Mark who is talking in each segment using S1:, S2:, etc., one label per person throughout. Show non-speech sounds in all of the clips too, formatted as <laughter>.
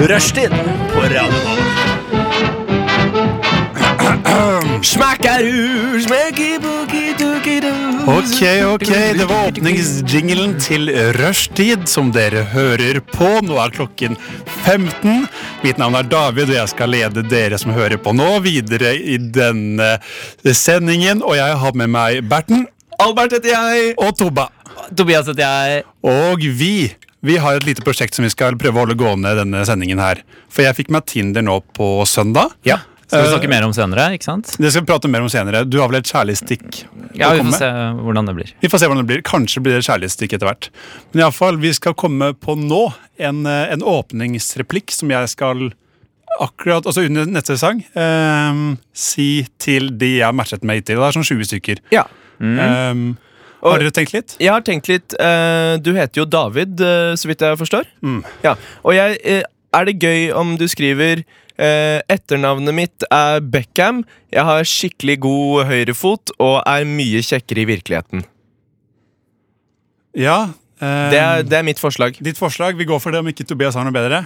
S1: Rushtid på Radio Nova. Smekkerur, smekki-bukki-dukki-du.
S2: Ok, ok, det var åpningsjingelen til rushtid som dere hører på. Nå er klokken 15. Mitt navn er David, og jeg skal lede dere som hører på nå, videre i denne sendingen. Og jeg har med meg Berten
S1: Albert heter jeg.
S2: og Tobba.
S3: Tobias heter jeg.
S2: Og vi. Vi har et lite prosjekt som vi skal prøve å holde gående denne sendingen her. For jeg fikk Eh, meg Tinder nå på søndag.
S3: Skal vi snakke mer om senere, ikke sant?
S2: Det skal vi prate mer om senere. Du har vel et kjærlighetsstikk?
S3: Ja,
S2: å
S3: vi
S2: komme med?
S3: får se hvordan det blir.
S2: Vi får se hvordan det blir. Kanskje blir det kjærlighetsstikk etter hvert. Men i alle fall, vi skal komme på nå en, eh, en åpningsreplikk som jeg skal akkurat, altså under neste sang, eh, si til de jeg har matchet med hittil. Det er sånn 20 stykker.
S1: Ja.
S2: Eh, har dere tenkt litt?
S1: Jeg har tenkt litt eh, Du heter jo David, eh, så vidt jeg forstår.
S3: Mm.
S1: Ja. Og jeg eh, Er det gøy om du skriver eh, etternavnet mitt er Beckham. Jeg har skikkelig god høyrefot og er mye kjekkere i virkeligheten.
S2: Ja. eh,
S1: Det
S3: Um.
S1: er, det er mitt forslag.
S2: Ditt forslag. Vi går for det om ikke Tobias har noe bedre.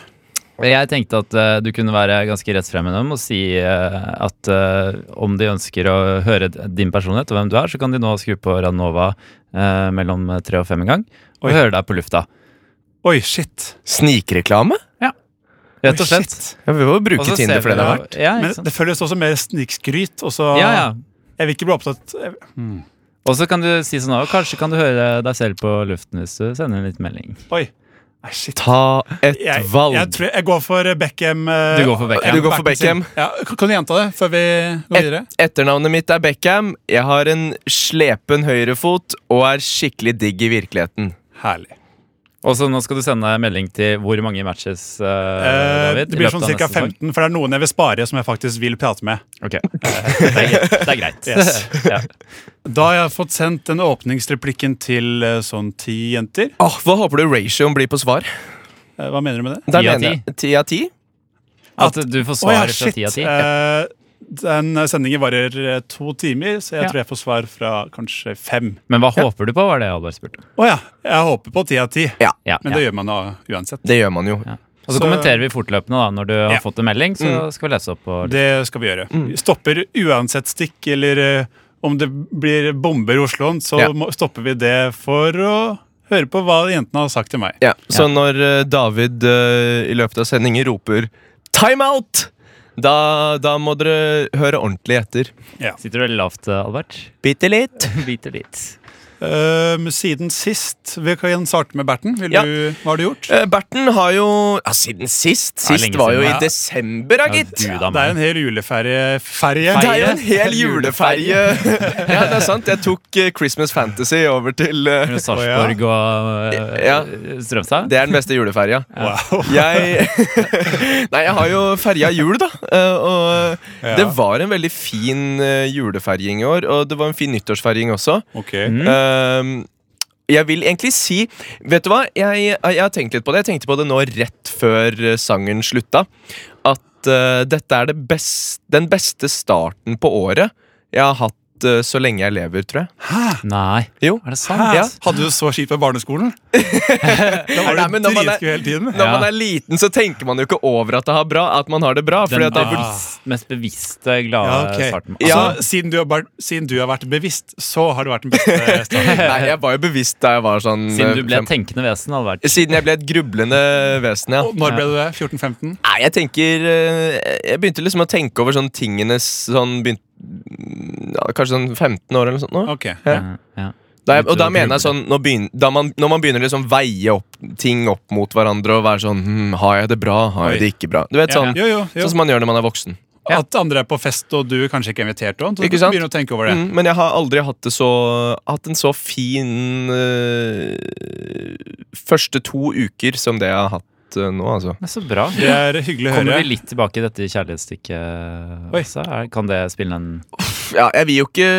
S3: Jeg tenkte at eh, du kunne være ganske rettsfrem med dem og si eh, at eh, om de ønsker å høre d- din personlighet og hvem du er, så kan de nå skru på Radnova eh, mellom tre og fem en gang og
S2: Oi.
S3: høre deg på lufta.
S2: Oi, shit.
S1: Snikreklame?
S3: Rett
S2: Oi,
S3: og slett.
S2: shit.
S1: Ja, vi må jo
S3: Og
S1: bruke
S3: så
S1: Tinder
S3: ser
S1: for
S3: vi
S1: det det har
S3: da-
S1: vært.
S3: Ja,
S2: Men
S3: ikke sant?
S2: det føles også mer snikskryt. Og så
S3: Ja, ja.
S2: Jeg vil ikke bli opptatt jeg- hmm.
S3: Og så kan du si sånn «Å, Kanskje kan du høre deg selv på luften hvis du sender en liten melding.
S2: Oi. Nei, shit.
S1: Ta et
S2: Jeg,
S1: valg.
S2: jeg, tror jeg går for Beckham. eh,
S3: Du går for Beckham.
S2: eh,
S1: Du går for
S2: Berten sin.
S1: Beckham.
S2: Ja, kan- kan du gjenta det før vi går
S1: Et-
S2: videre?
S1: Etternavnet mitt er Beckham. Jeg har en slepen høyrefot og er skikkelig digg i virkeligheten.
S2: Herlig.
S3: Og så nå skal du sende melding til hvor mange matches, eh,
S2: Eh,
S3: David?
S2: det
S3: i
S2: blir
S3: løpet
S2: sånn
S3: av
S2: ca.
S3: neste sesong?
S2: 15, for det er noen jeg vil spare som jeg faktisk vil prate med. <laughs>
S3: Ok. Eh, Det er greit. Det er greit.
S2: Yes.
S3: ja.
S2: Da har jeg fått sendt den åpningsreplikken til eh, sånn ti jenter.
S1: Åh, Hva håper du ratioen blir på svar?
S2: Eh, Hva mener du med det?
S1: Der
S3: Ti av
S1: mener jeg- Ti av ti?
S3: At du får
S2: Å ja,
S3: svar fra
S2: shit.
S3: ti av ti?
S2: Eh, den sendingen varer eh, to timer, så jeg
S3: Ja.
S2: tror jeg får svar fra kanskje fem.
S3: Men hva håper du på, var det Albert spurte. om.
S2: Å ja, jeg håper på ti av ti.
S1: Ja,
S3: Ja,
S2: Men
S3: ja.
S2: det gjør man da uansett.
S1: det gjør man jo.
S3: Og så,
S2: så-
S3: kommenterer vi fortløpende da, når du har
S2: Ja. Mm.
S3: fått en melding. Så skal vi lese opp og
S2: Det skal vi gjøre.
S1: Mm.
S2: Vi stopper uansett stikk, eller eh, om det blir bomber i Oslo, så
S3: Ja.
S2: må- stopper vi det for å høre på hva jentene har sagt til meg.
S1: Ja. Så når eh, David eh, i løpet av sendingen roper 'timeout', da, da må dere høre ordentlig etter.
S3: Sitter du veldig lavt, Albert?
S1: Bitte litt.
S3: Biter litt.
S2: Eh, men siden sist Vi kan starte med Berten. Vil
S1: Ja.
S2: du, hva har du gjort?
S1: Eh, Berten har jo ja, Siden sist.
S3: Ja,
S1: Sist
S3: lenge
S1: var jo
S3: siden,
S1: i
S3: ja.
S1: desember, da,
S3: Ja,
S1: gitt.
S3: du da,
S2: Det er
S3: mann.
S2: en hel juleferie. Ferie.
S1: Det er jo en
S3: Ferie.
S1: hel juleferie. <laughs> ja, det er sant. Jeg tok eh, Christmas Fantasy over til eh,
S3: Mellom Sarpsborg og eh,
S1: Ja.
S3: Strømstad?
S1: Det er den beste juleferja.
S2: Wow.
S1: Jeg <laughs> Nei, jeg har jo ferja jul, da. eh, Og
S2: Ja.
S1: det var en veldig fin eh, juleferjing i år. Og det var en fin nyttårsferjing også.
S2: Ok.
S3: Mm.
S1: Eh, Jeg vil egentlig si Vet du hva? Jeg, eh, jeg har tenkt litt på det. Jeg tenkte på det nå rett før eh, sangen slutta. At eh, dette er det best, den beste starten på året jeg har hatt eh, så lenge jeg lever, tror jeg.
S3: Nei,
S1: Jo.
S3: er det sant?
S2: Hæ?
S1: Ja.
S2: Hadde du det så kjipt på barneskolen? da
S1: <laughs>
S2: var
S1: Nei,
S2: du
S1: men når man er-
S2: dritskudd hele tiden.
S1: Når
S3: Ja.
S1: man er liten, så tenker man jo ikke over at, det har bra, at man har det bra. Fordi
S3: Den
S1: at det er
S2: Ah.
S3: bevist- mest bevisste, glade
S2: Ja, ok.
S3: starten.
S2: Altså,
S1: Ja.
S2: siden, du har, bar- siden du har vært bevisst, så har du vært den
S3: <laughs>
S2: beste starten.
S1: <laughs> Nei, jeg var jo bevisst da jeg var sånn
S3: Siden du ble
S1: fem-
S3: et tenkende vesen, Albert.
S1: Siden jeg ble et grublende vesen, ja.
S2: Og Når ble du det? 14-15?
S1: Nei, jeg tenker eh, Jeg begynte liksom å tenke over sånn tingenes sånn begynt, ja, Kanskje sånn 15 år eller noe sånt. Nå.
S2: Ok.
S1: Ja.
S3: Ja, ja.
S1: Da jeg, og da
S3: Begynte å
S1: mener jeg sånn Når, begyn, da man, når man begynner liksom veie opp ting opp mot hverandre og være sånn hm, Har jeg det bra? Har
S2: Oi.
S1: jeg det ikke bra? Du vet
S3: Ja,
S1: sånn,
S2: Jo, jo, jo.
S1: sånn som man gjør når man er voksen.
S3: Ja.
S2: At andre er på fest, og du kanskje ikke er invitert. Og, så
S1: Ikke sant?
S2: du begynner å tenke over det.
S1: Mm, men jeg har aldri hatt, det så, hatt en så fin eh, første to uker som det jeg har hatt eh, nå, altså.
S3: Men Så bra.
S2: Det er hyggelig å
S3: Kommer
S2: høre.
S3: vi litt tilbake i dette kjærlighetsstykket
S2: Oi.
S3: også? Er- Kan det spille en
S1: Ja, jeg vil jo ikke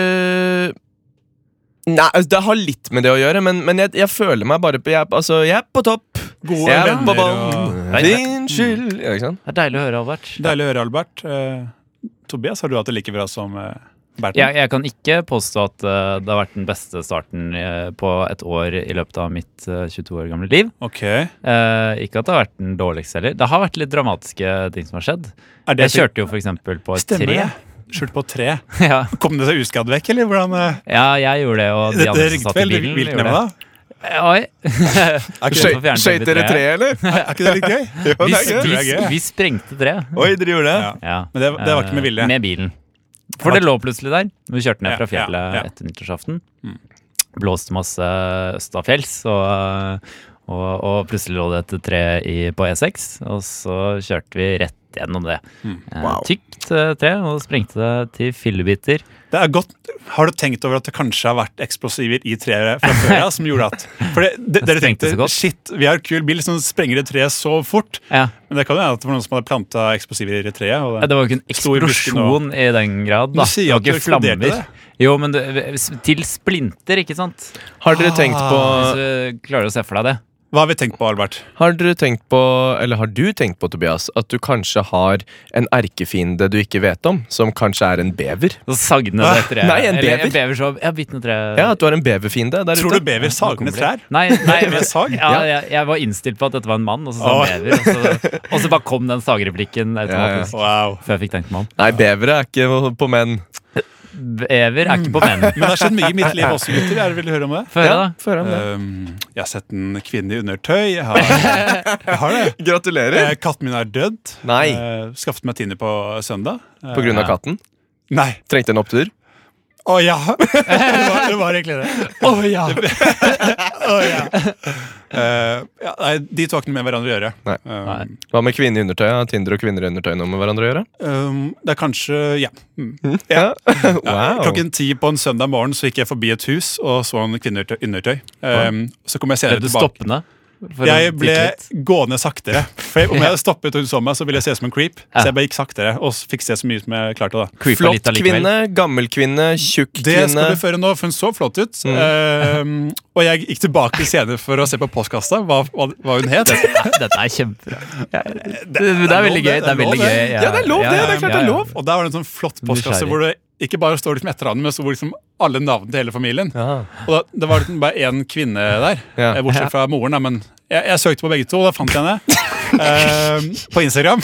S1: Nei, altså, det har litt med det å gjøre, men, men jeg, jeg føler meg bare på Jeg, er på- altså, jeg er på topp.
S2: Gode
S1: Jeg er på
S2: venner. Og...
S1: ballen.
S3: Nei, det-
S1: Din skyld. Ja, ikke sant?
S3: Det er deilig å høre, Albert.
S2: Deilig å høre, Albert. Eh, Tobias, har du hatt det like bra som eh, Berten?
S3: Jeg, jeg kan ikke påstå at eh, det har vært den beste starten eh, på et år i løpet av mitt eh, 22 år gamle liv.
S2: Ok.
S3: Eh, ikke at det har vært den dårligste heller. Det har vært litt dramatiske ting som har skjedd.
S2: Er det
S3: Jeg kjørte jo f.eks. på et
S2: Stemmer
S3: tre.
S2: det. Kjørte på et tre.
S3: <laughs> Ja.
S2: Kom det seg uskadd vekk, eller hvordan eh,
S3: ja, jeg gjorde det, og
S2: Det,
S3: de
S2: det
S3: andre som
S2: ringte
S3: satt i
S2: vel
S3: bilen,
S2: vilt ned
S3: gjorde
S2: med
S3: det.
S2: da?
S3: Eh, Oi.
S2: <laughs> Er ikke, det-
S3: Skøy-
S2: sånn-
S3: Skjøt- fjerne
S1: Skøyt dere
S3: treet.
S1: treet, eller?
S2: <laughs> er ikke det litt gøy?
S3: Vi,
S1: Jo, det er gøy.
S2: Det er
S3: vi,
S2: gøy.
S3: vi sprengte treet.
S1: Oi, dere gjorde det?
S2: Ja.
S3: Ja.
S2: Men det, det var ikke med vilje.
S3: Eh, Med bilen. For det lå plutselig der. Vi kjørte ned
S2: Ja,
S3: fra
S2: ja,
S3: fjellet
S2: ja.
S3: etter nyttårsaften.
S2: Mm.
S3: Blåste masse østafjells, og, og, og plutselig lå det et tre i, på E6. Og så kjørte vi rett gjennom det.
S2: Mm.
S3: Eh,
S1: Wow.
S3: Tykt eh, tre, og sprengte det til fillebiter.
S2: Det er godt. Har du tenkt over at det kanskje har vært eksplosiver i treet fra før av? som gjorde at For det, det, dere
S3: Sprengte
S2: tenkte
S3: så godt.
S2: shit, vi har kul bil som sprenger det treet så fort.
S3: Ja.
S2: Men det kan jo være at det var noen som hadde planta eksplosiver i treet. Og
S3: Ja,
S2: det,
S3: det var jo ikke en
S2: Stor busken
S3: eksplosjon i den grad,
S2: Du
S3: da.
S2: sier
S3: Det var
S2: at du
S3: ikke
S2: eksploderte
S3: flammer.
S2: det.
S3: Jo, men det, til splinter, ikke sant?
S1: Har dere tenkt på
S2: Ah.
S3: Hvis du klarer å se for deg det.
S2: Hva har vi tenkt på, Albert?
S1: Har dere tenkt på, eller har du tenkt på, Tobias, at du kanskje har en erkefiende du ikke vet om, som kanskje er en bever?
S3: Så sagner det
S2: Hæ?
S3: treet.
S1: Ah, Nei, en
S3: Eller,
S1: bever.
S3: en bever som, ja, bitt ned treet.
S1: Ja, at du har en beverfiende der
S2: Tror du
S1: ute?
S2: bever sager ned trær?
S1: <laughs>
S3: Nei, nei
S2: Med
S3: men,
S2: sag?
S3: ja, jeg, jeg var innstilt på at dette var en mann, og så sa
S2: Åh.
S3: han bever.
S1: Ah.
S3: Og så, og så bare kom den
S1: <laughs>
S3: sagreplikken automatisk.
S2: Wow.
S3: Før jeg fikk tenkt meg om.
S1: Nei, bevere er ikke på menn.
S3: Bever er ikke på
S1: <laughs>
S3: menn.
S2: Men det har skjedd mye i mitt liv også, gutter. Er det, vil du høre om det?
S3: Få høre, da.
S1: få høre om det.
S2: Um, jeg har sett en kvinne i undertøy. Jeg har, jeg har det.
S1: Gratulerer!
S2: Eh, Katten min er dødd.
S1: Nei.
S2: Eh, Skaffet meg Tinder på søndag. Eh,
S1: På grunn av
S3: Ja.
S1: katten.
S2: Nei.
S1: Trengte en opptur.
S2: Å ja! <laughs> Det var, det var egentlig det. Å ja! <laughs> Å ja. Eh, ja nei, de to har ikke noe med hverandre å gjøre.
S1: Nei.
S2: Um,
S3: Nei.
S1: Hva med kvinne i undertøy? Har Tinder og kvinner i undertøy noe med hverandre å gjøre?
S2: Um, det er kanskje Ja. Mm.
S1: <laughs> Ja.
S2: Ja,
S1: Wow.
S2: Klokken ti på en søndag morgen så gikk jeg forbi et hus og så en kvinne i undertøy. Um, så kom jeg
S3: Ble
S2: senere
S3: du
S2: tilbake.
S3: stoppende? For å
S2: Jeg
S3: titte
S2: ble
S3: litt?
S2: gående saktere. For jeg- Om jeg hadde stoppet og hun så meg, så ville jeg se ut som en creep.
S3: Ja.
S2: Så jeg bare gikk saktere og fikk se så mye som jeg klarte. da
S3: Creepa litt
S1: Flott
S3: allikevel. <laughs>
S1: kvinne, gammel kvinne, tjukk
S2: Det skal
S1: kvinne. Mm.
S2: du føre nå, for hun så flott ut. Um, og jeg gikk tilbake senere for å se på postkassa, hva, hva, hva hun
S1: <laughs>
S2: het.
S3: Dette er kjempebra. Det, det er veldig gøy. Det er veldig gøy.
S1: Ja, det er lov, det. Det er klart det er lov.
S2: Og der var det en sånn flott postkasse
S3: Nysgjerrig.
S2: hvor det ikke bare står liksom etter han, men så hvor liksom alle navnene til hele familien.
S1: Ja.
S2: Og da, det var liksom bare én kvinne der,
S1: Ja.
S2: eh, bortsett fra moren. Da, men jeg, jeg søkte på begge to, og da fant jeg henne. eh, på Instagram.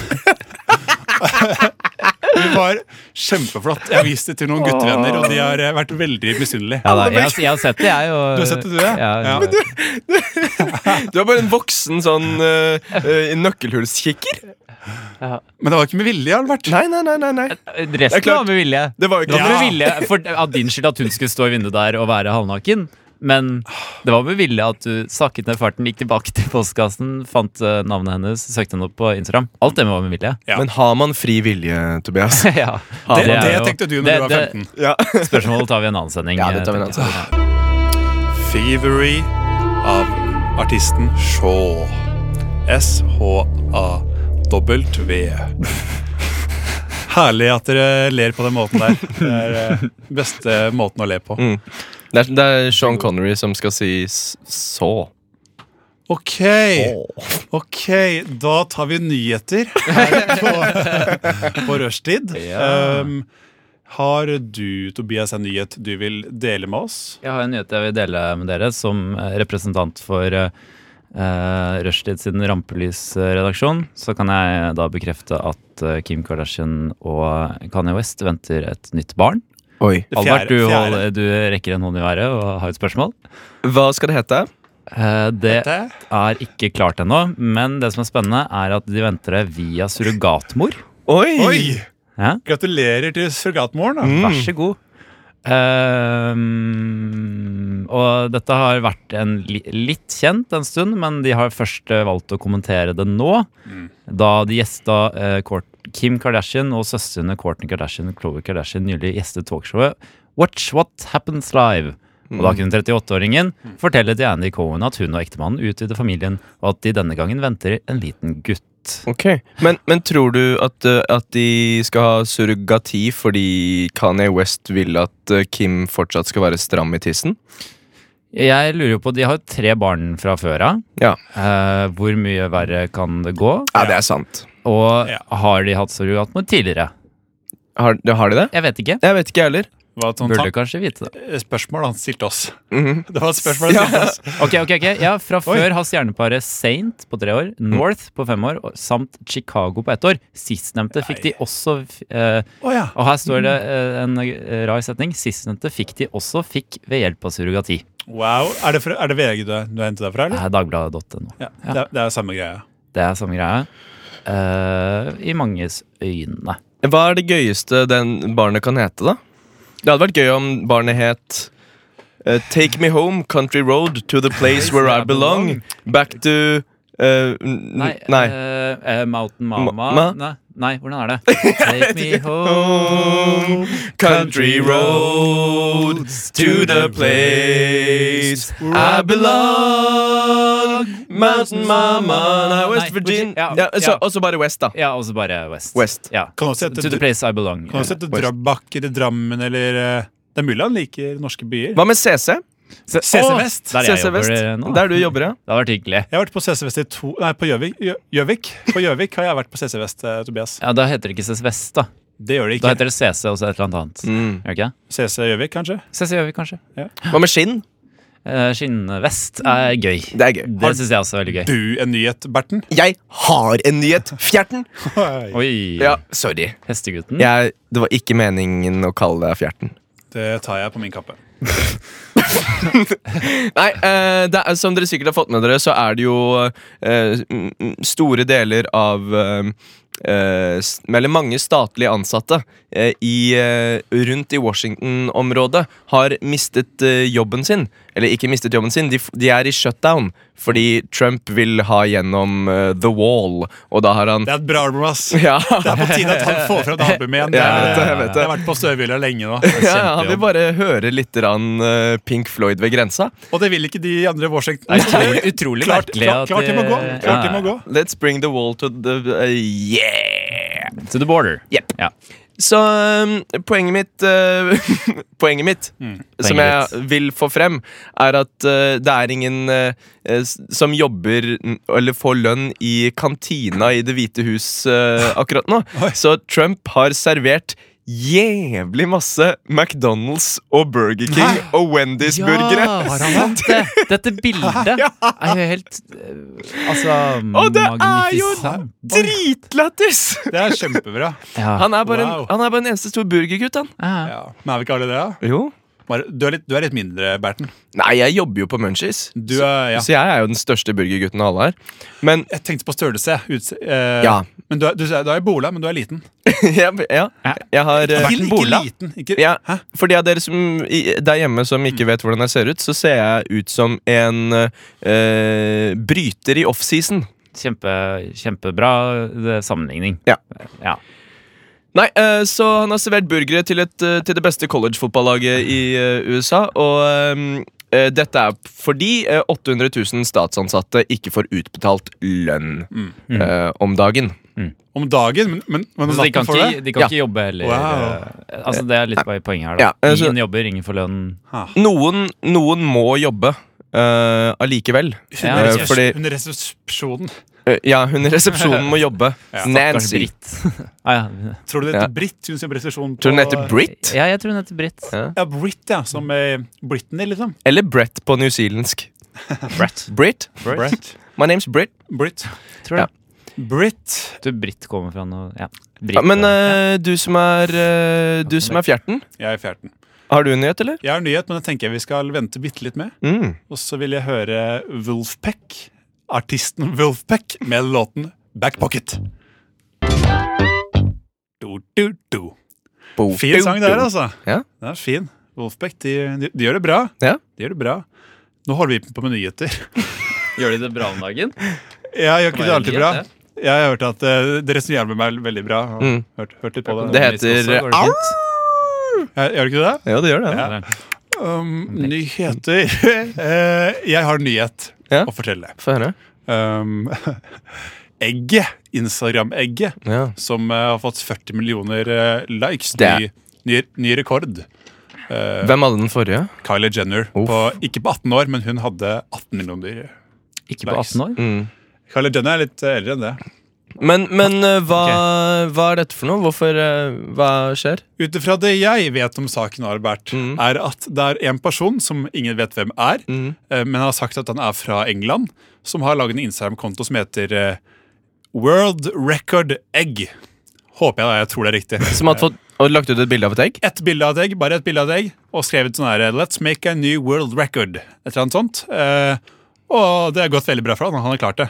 S2: <laughs> Hun var kjempeflott. Jeg har vist det til noen guttevenner, og de har eh, vært veldig misunnelige.
S3: Ja, da, jeg, har- jeg har sett det, jeg. Og,
S2: Du har sett det, du, ja?
S3: Ja,
S2: Ja.
S3: ja.
S1: Du er bare en voksen sånn eh, eh, nøkkelhullskikker.
S2: Men det var ikke med vilje, Albert.
S1: Nei, nei, nei. nei, nei.
S3: Resten
S1: klart.
S3: var med vilje.
S1: Det var jo
S3: Det
S1: ikke
S2: Ja.
S3: var med vilje for, av din skyld at hun skulle stå i vinduet der og være halvnaken. Men det var med vilje at du sakket ned farten, gikk tilbake til postkassen, fant eh, navnet hennes, søkte henne opp på Instagram. Alt det var med
S2: <laughs>
S3: vilje.
S2: Ja.
S1: Men har man fri vilje, Tobias?
S3: ja,
S2: Det,
S3: er
S2: det
S3: jo-
S2: tenkte du når
S3: det-
S2: du var
S3: det-
S2: 15.
S1: <laughs> Ja.
S3: <laughs> Spørsmålet tar vi i en annen sending.
S1: Ja, det tar vi i en
S3: eh, tenker jeg.
S2: Thievery av artisten Shaw. S-H-A-W. Herlig at dere ler på den måten der. Det er eh, beste måten å le på.
S1: <laughs> Det, er, det er Sean Connery som skal si s- så.
S2: Ok, ok, da tar vi nyheter her på, på <laughs> rushtid.
S3: Ja.
S2: Um, har du, Tobias, en nyhet du vil dele med oss?
S3: Jeg har en nyhet jeg vil dele med dere som eh, representant for uh, Rushtid sin rampelysredaksjon. Så kan jeg da bekrefte at eh, Kim Kardashian og Kanye West venter et nytt barn.
S1: Oi.
S2: Det
S3: Albert, du,
S2: fjerde-
S3: holder- du rekker en hånd i været og har et spørsmål.
S1: Hva skal det hete?
S3: Eh, det
S2: fjerde?
S3: er ikke klart ennå, men det som er spennende, er at de venter det via surrogatmor.
S1: Oi!
S2: Oi!
S3: Ja.
S2: Gratulerer til surrogatmoren. da.
S3: Vær så god. Ehm, og dette har vært en li litt kjent en stund, men de har først eh, valgt å kommentere det nå. Da de gjesta eh, Kourt- Kim Kardashian og søstrene Kourtney Kardashian og Khloe Kardashian nylig gjestet talkshowet Watch What Happens Live. Og da kunne 38-åringen fortelle til Andy Cohen at hun og ektemannen utvider familien, og at de denne gangen venter en liten gutt.
S1: Ok, Men, men tror du at, eh, at de skal ha surrogati fordi Kanye West vil at eh, Kim fortsatt skal være stram i tissen?
S3: Jeg lurer jo på, De har jo tre barn fra før av.
S1: Ja.
S3: Eh, hvor mye verre kan det gå?
S1: Ja, det er sant.
S3: Og
S2: Ja.
S3: har de hatt surrogatmor tidligere?
S1: Har, har de det?
S3: Jeg vet ikke.
S1: Jeg vet ikke, jeg heller.
S2: var et sånt
S3: Burde
S2: tank-
S3: kanskje vite det.
S2: spørsmål han stilte oss. <laughs>
S1: Mhm.
S2: Det var et spørsmål han stilte oss.
S3: Ok, ok, ok. Ja, Fra før har stjerneparet Saint på tre år, North på fem år og- samt Chicago på ett år. Sistnevnte fikk de også eh,
S2: Å ja.
S3: Og her står det eh, en eh, rar setning. Sistnevnte fikk de også fikk ved hjelp av surrogati.
S2: Wow. Er det, fra, er det VG du, du har hentet deg fra,
S3: Det
S2: eller?
S3: er Dagbladet.no.
S2: Ja, det, er, det er samme greia.
S3: Det er samme greie. Eh, I manges øyne.
S1: Hva er det gøyeste den barnet kan hete, da? Det hadde vært gøy om barnet het eh, Take me home, country road, to the place where I belong. Back to eh, n-
S3: Nei.
S1: Nei.
S3: eh, eh, Mountain Mama
S1: Ma- ma?
S3: nei, nei, hvordan
S1: <laughs>
S3: er det? Take me home
S1: Country road to the place I belong. Mountain mama Nei, West
S3: Nei,
S1: Virginia
S3: ja,
S1: ja, så,
S3: ja.
S1: Og så bare West, da.
S3: Ja, og så bare West.
S1: West.
S3: Ja.
S2: Kan også hete
S3: To the place I belong.
S2: Kan også hete Drabak eller Drammen eller eh, Det er mulig han liker norske byer.
S1: Hva med CC?
S2: CC
S3: Åh,
S2: Vest.
S3: Der jeg
S1: CC
S3: jobber eh,
S1: Vest.
S3: nå.
S1: Der du jobber, ja.
S3: Det har vært hyggelig.
S2: Jeg har vært på CC Vest i to Nei, på Gjøvik. Gjø- Gjøvik På Gjøvik har jeg vært på CC Vest, eh, Tobias.
S3: Ja, Da heter det ikke CC Vest, da.
S2: Det gjør det
S3: Da
S2: ikke.
S3: heter det CC og så et eller annet annet.
S1: Mm.
S3: Gjør det ikke?
S2: CC Gjøvik, kanskje?
S3: CC gjør vi kanskje.
S1: Hva med skinn?
S3: Eh, Skinnvest er gøy.
S1: Det er gøy.
S3: Det syns jeg også er veldig gøy.
S2: Du en nyhet, Berten?
S1: Jeg har en nyhet! Fjerten!
S2: Oi.
S3: Oi!
S1: Ja, sorry.
S3: Hestegutten.
S1: Jeg, det var ikke meningen å kalle deg fjerten.
S2: Det tar jeg på min kappe.
S1: Nei, eh, det er, som dere sikkert har fått med dere, så er det jo eh, m- m- store deler av eh, eh, s- Eller mange statlig ansatte eh, i, eh, rundt i Washington-området har mistet eh, jobben sin. Eller ikke mistet jobben sin, de, f- de er i shutdown fordi Trump vil ha gjennom eh, The Wall, og da har han
S2: Det er et bra album, ass.
S1: <laughs> ja,
S2: Det er på tide at han får fra det albumet igjen.
S1: <laughs> Ja,
S2: Det er-
S1: jeg vet det, jeg vet det.
S2: har vært på støvhylla lenge nå.
S1: ja, han vil bare høre litt rann, eh, Pink Floyd ved grensa.
S2: Og det vil ikke de andre i Washington.
S3: Det er utrolig, utrolig
S2: klart,
S3: merkelig
S2: klart,
S3: at
S2: klart de må gå.
S3: eh,
S2: Klart de
S3: ja,
S2: må gå.
S1: Let's bring the wall to the eh, Yeah!
S3: To the border.
S1: Yep.
S3: Ja.
S1: Så um, poenget mitt eh, <laughs> Poenget mitt, som
S3: Mm. Poenget
S1: jeg vil få frem, er at eh, det er ingen eh, eh, s- som jobber n- eller får lønn i kantina i Det hvite hus eh, akkurat
S2: <laughs>
S1: nå. Så Trump har servert jævlig masse McDonald's og Burger King og Wendy's-burgere.
S3: har han hatt det? Dette
S1: <laughs>
S3: bildet er jo helt eh, Altså,
S1: Og det er jo
S3: magnificent.
S1: Dritlættis!
S2: Det er kjempebra.
S3: Ja.
S1: Han er bare,
S2: Wow.
S1: en, han er bare en eneste stor burgergutt, han.
S3: Ja.
S2: Ja. Men er vi ikke alle det, da?
S1: Jo.
S2: Bare- Du er litt, du er litt mindre, Berten.
S1: Nei, jeg jobber jo på Munchies.
S2: Du er, ja.
S1: Så jeg er jo den største burgergutten av alle her. Men <laughs>
S2: Jeg tenkte på størrelse. Utse, eh,
S1: Ja.
S2: Men du er, du, er- du er i bola, men du er liten.
S1: ja, ja, jeg har eh,
S2: Berten, ikke
S1: bola.
S2: liten. Ikke,
S1: Ja,
S2: Hæ?
S1: for de av dere som i- der hjemme som ikke vet hvordan jeg ser ut, så ser jeg ut som en eh, bryter i offseason.
S3: Kjempe, kjempebra eh, sammenligning.
S1: Ja.
S3: ja.
S1: Nei, eh, så han har servert burgere til, et, eh, til det beste collegefotballaget i eh, USA. Og ehm, eh, dette er fordi eh, 800 000 statsansatte ikke får utbetalt lønn eh, om dagen.
S2: Om dagen, men, men, men om
S1: Altså,
S3: Så de
S2: natten
S3: kan,
S2: får du
S3: ikke,
S2: det?
S3: de kan
S1: Ja.
S3: ikke jobbe heller.
S2: Wow.
S3: eh, Altså, det er litt bare poenget her, da.
S1: Ja, altså-
S3: ingen jobber, ingen får lønn.
S1: Noen, noven må jobbe eh, allikevel.
S3: Ja,
S2: Hun er
S1: Eh,
S2: resepsjon-
S1: fordi-
S2: Hun er resepsjonen.
S1: Eh, ja, hun i resepsjonen må jobbe.
S3: Kanskje
S1: Nancy.
S3: Britt. <laughs> ah, ja.
S2: Tror du det heter
S1: Ja.
S2: Britt? Hun sier resepsjon på
S1: Tror hun heter Brit?
S3: ja, jeg tror hun heter Britt.
S2: Ja, Britt, ja. Som eh, Britney, liksom.
S1: Eller Brett på newzealandsk.
S3: Brett.
S1: Brit?
S2: Britt.
S1: My name's Brit.
S2: Britt.
S3: Tror jeg.
S1: Ja.
S2: Britt.
S3: Du, Britt kommer fra noe Ja. Britt,
S1: Ja, men
S3: ja.
S1: eh, du som er eh, Du som er fjerten,
S2: Jeg er fjerten.
S1: har du en nyhet, eller?
S2: Jeg har en nyhet, men jeg tenker jeg vi skal vente bitte litt med.
S1: Mm.
S2: Og så vil jeg høre Wolfpack, artisten Wolfpack, med låten Back Pocket. Du, du, du.
S1: Bo-
S2: Fin sang der, altså.
S1: Ja.
S2: Den er fin. Wolfpack, de, de, de gjør det bra.
S1: Ja.
S2: De gjør det bra. Nå holder vi på med nyheter.
S3: Gjør de det bra om dagen?
S2: Jeg gjør ikke det alltid bra.
S3: Nyhet,
S2: Jeg har hørt at uh, dere som hjelper meg veldig bra, har
S1: Mm.
S2: hørt, hørt litt på det.
S1: Det heter-
S3: Au!
S2: Jeg, gjør ikke det?
S1: Ja, det gjør det. Ja.
S2: Um, nyheter <laughs> Eh, Jeg har en nyhet
S1: Ja.
S2: å fortelle.
S1: Få høre.
S2: Um, <laughs> egget, Instagram-egget,
S1: Ja.
S2: som eh, har fått 40 millioner eh, likes.
S1: Det er-
S2: Ny, ny, ny rekord. Eh,
S1: Hvem hadde den forrige?
S2: Kylie Jenner.
S1: Uff.
S2: På, ikke på 18 år, men hun hadde 18 millioner.
S3: Ikke på 18 år?
S1: Mm. <laughs>
S2: Kylie Jenner er litt eh, eldre enn det.
S1: Men, men eh, hva, hva er dette for noe? Hvorfor eh, Hva skjer?
S2: Ut ifra det jeg vet om saken, Albert,
S1: Mm.
S2: er at det er en person som ingen vet hvem er,
S1: Mm.
S2: eh, men har sagt at han er fra England, som har laget en Instagram-konto som heter eh, World Record Egg. Håper jeg da, jeg tror det er riktig.
S1: <laughs> Som hadde fått og lagt ut et bilde av et egg?
S2: Ett bilde av et egg, bare ett bilde av et egg, og skrevet sånn her Let's make a new world record. Et eller annet sånt. Eh, og det har gått veldig bra for han, han har klart det.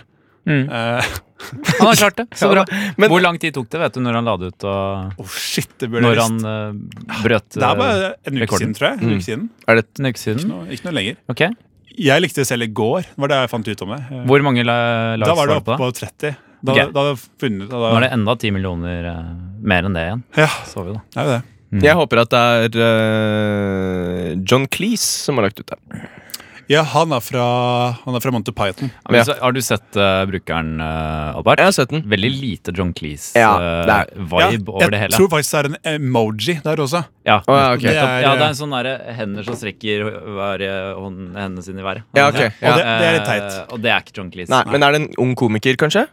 S3: Mm.
S2: Eh, <laughs>
S3: Han har klart det. Så bra.
S1: Men-
S3: Hvor lang tid tok det, vet du, når han la det ut, og
S2: oh shit, det burde jeg
S3: når
S2: visst.
S3: han eh, brøt
S2: Det er bare en uke
S3: rekorden.
S2: siden, tror jeg. En
S1: Mm.
S2: uke siden.
S1: Er det,
S3: en uke
S2: Ikke
S3: siden?
S2: noe, ikke noe lenger.
S3: Ok.
S2: Jeg likte det selv i går. Det var det jeg fant ut om det. Eh,
S3: Hvor mange la-
S2: Da
S3: likes
S2: var
S3: var
S2: det
S3: det
S2: oppe
S3: på? det?
S2: på 30. Da,
S3: Ok.
S2: da hadde jeg funnet da,
S3: Nå er det enda ti millioner eh, mer enn det igjen.
S2: Ja,
S3: Så vi da.
S2: det er jo det.
S1: jeg håper at det er eh, John Cleese som har lagt ut det.
S2: Ja, han er fra, han er fra Monty Python.
S3: Men
S1: Ja.
S3: så, har du sett eh, brukeren, eh, Albert?
S1: Jeg har sett den.
S3: Veldig lite John Cleese-vibe
S1: Ja, det
S2: Ja,
S3: over det
S2: jeg
S3: hele.
S2: tror faktisk det er en emoji der også.
S3: Ja.
S1: Å, ja, ok.
S2: Det er, eh,
S3: ja, det er en sånn derre hender som strekker hver, eh, hånden, hendene sine i været.
S1: Ja, ok.
S2: Ja, det- det er litt teit.
S3: Eh, og det er ikke John Cleese.
S1: Nei, men er det en ung komiker, kanskje?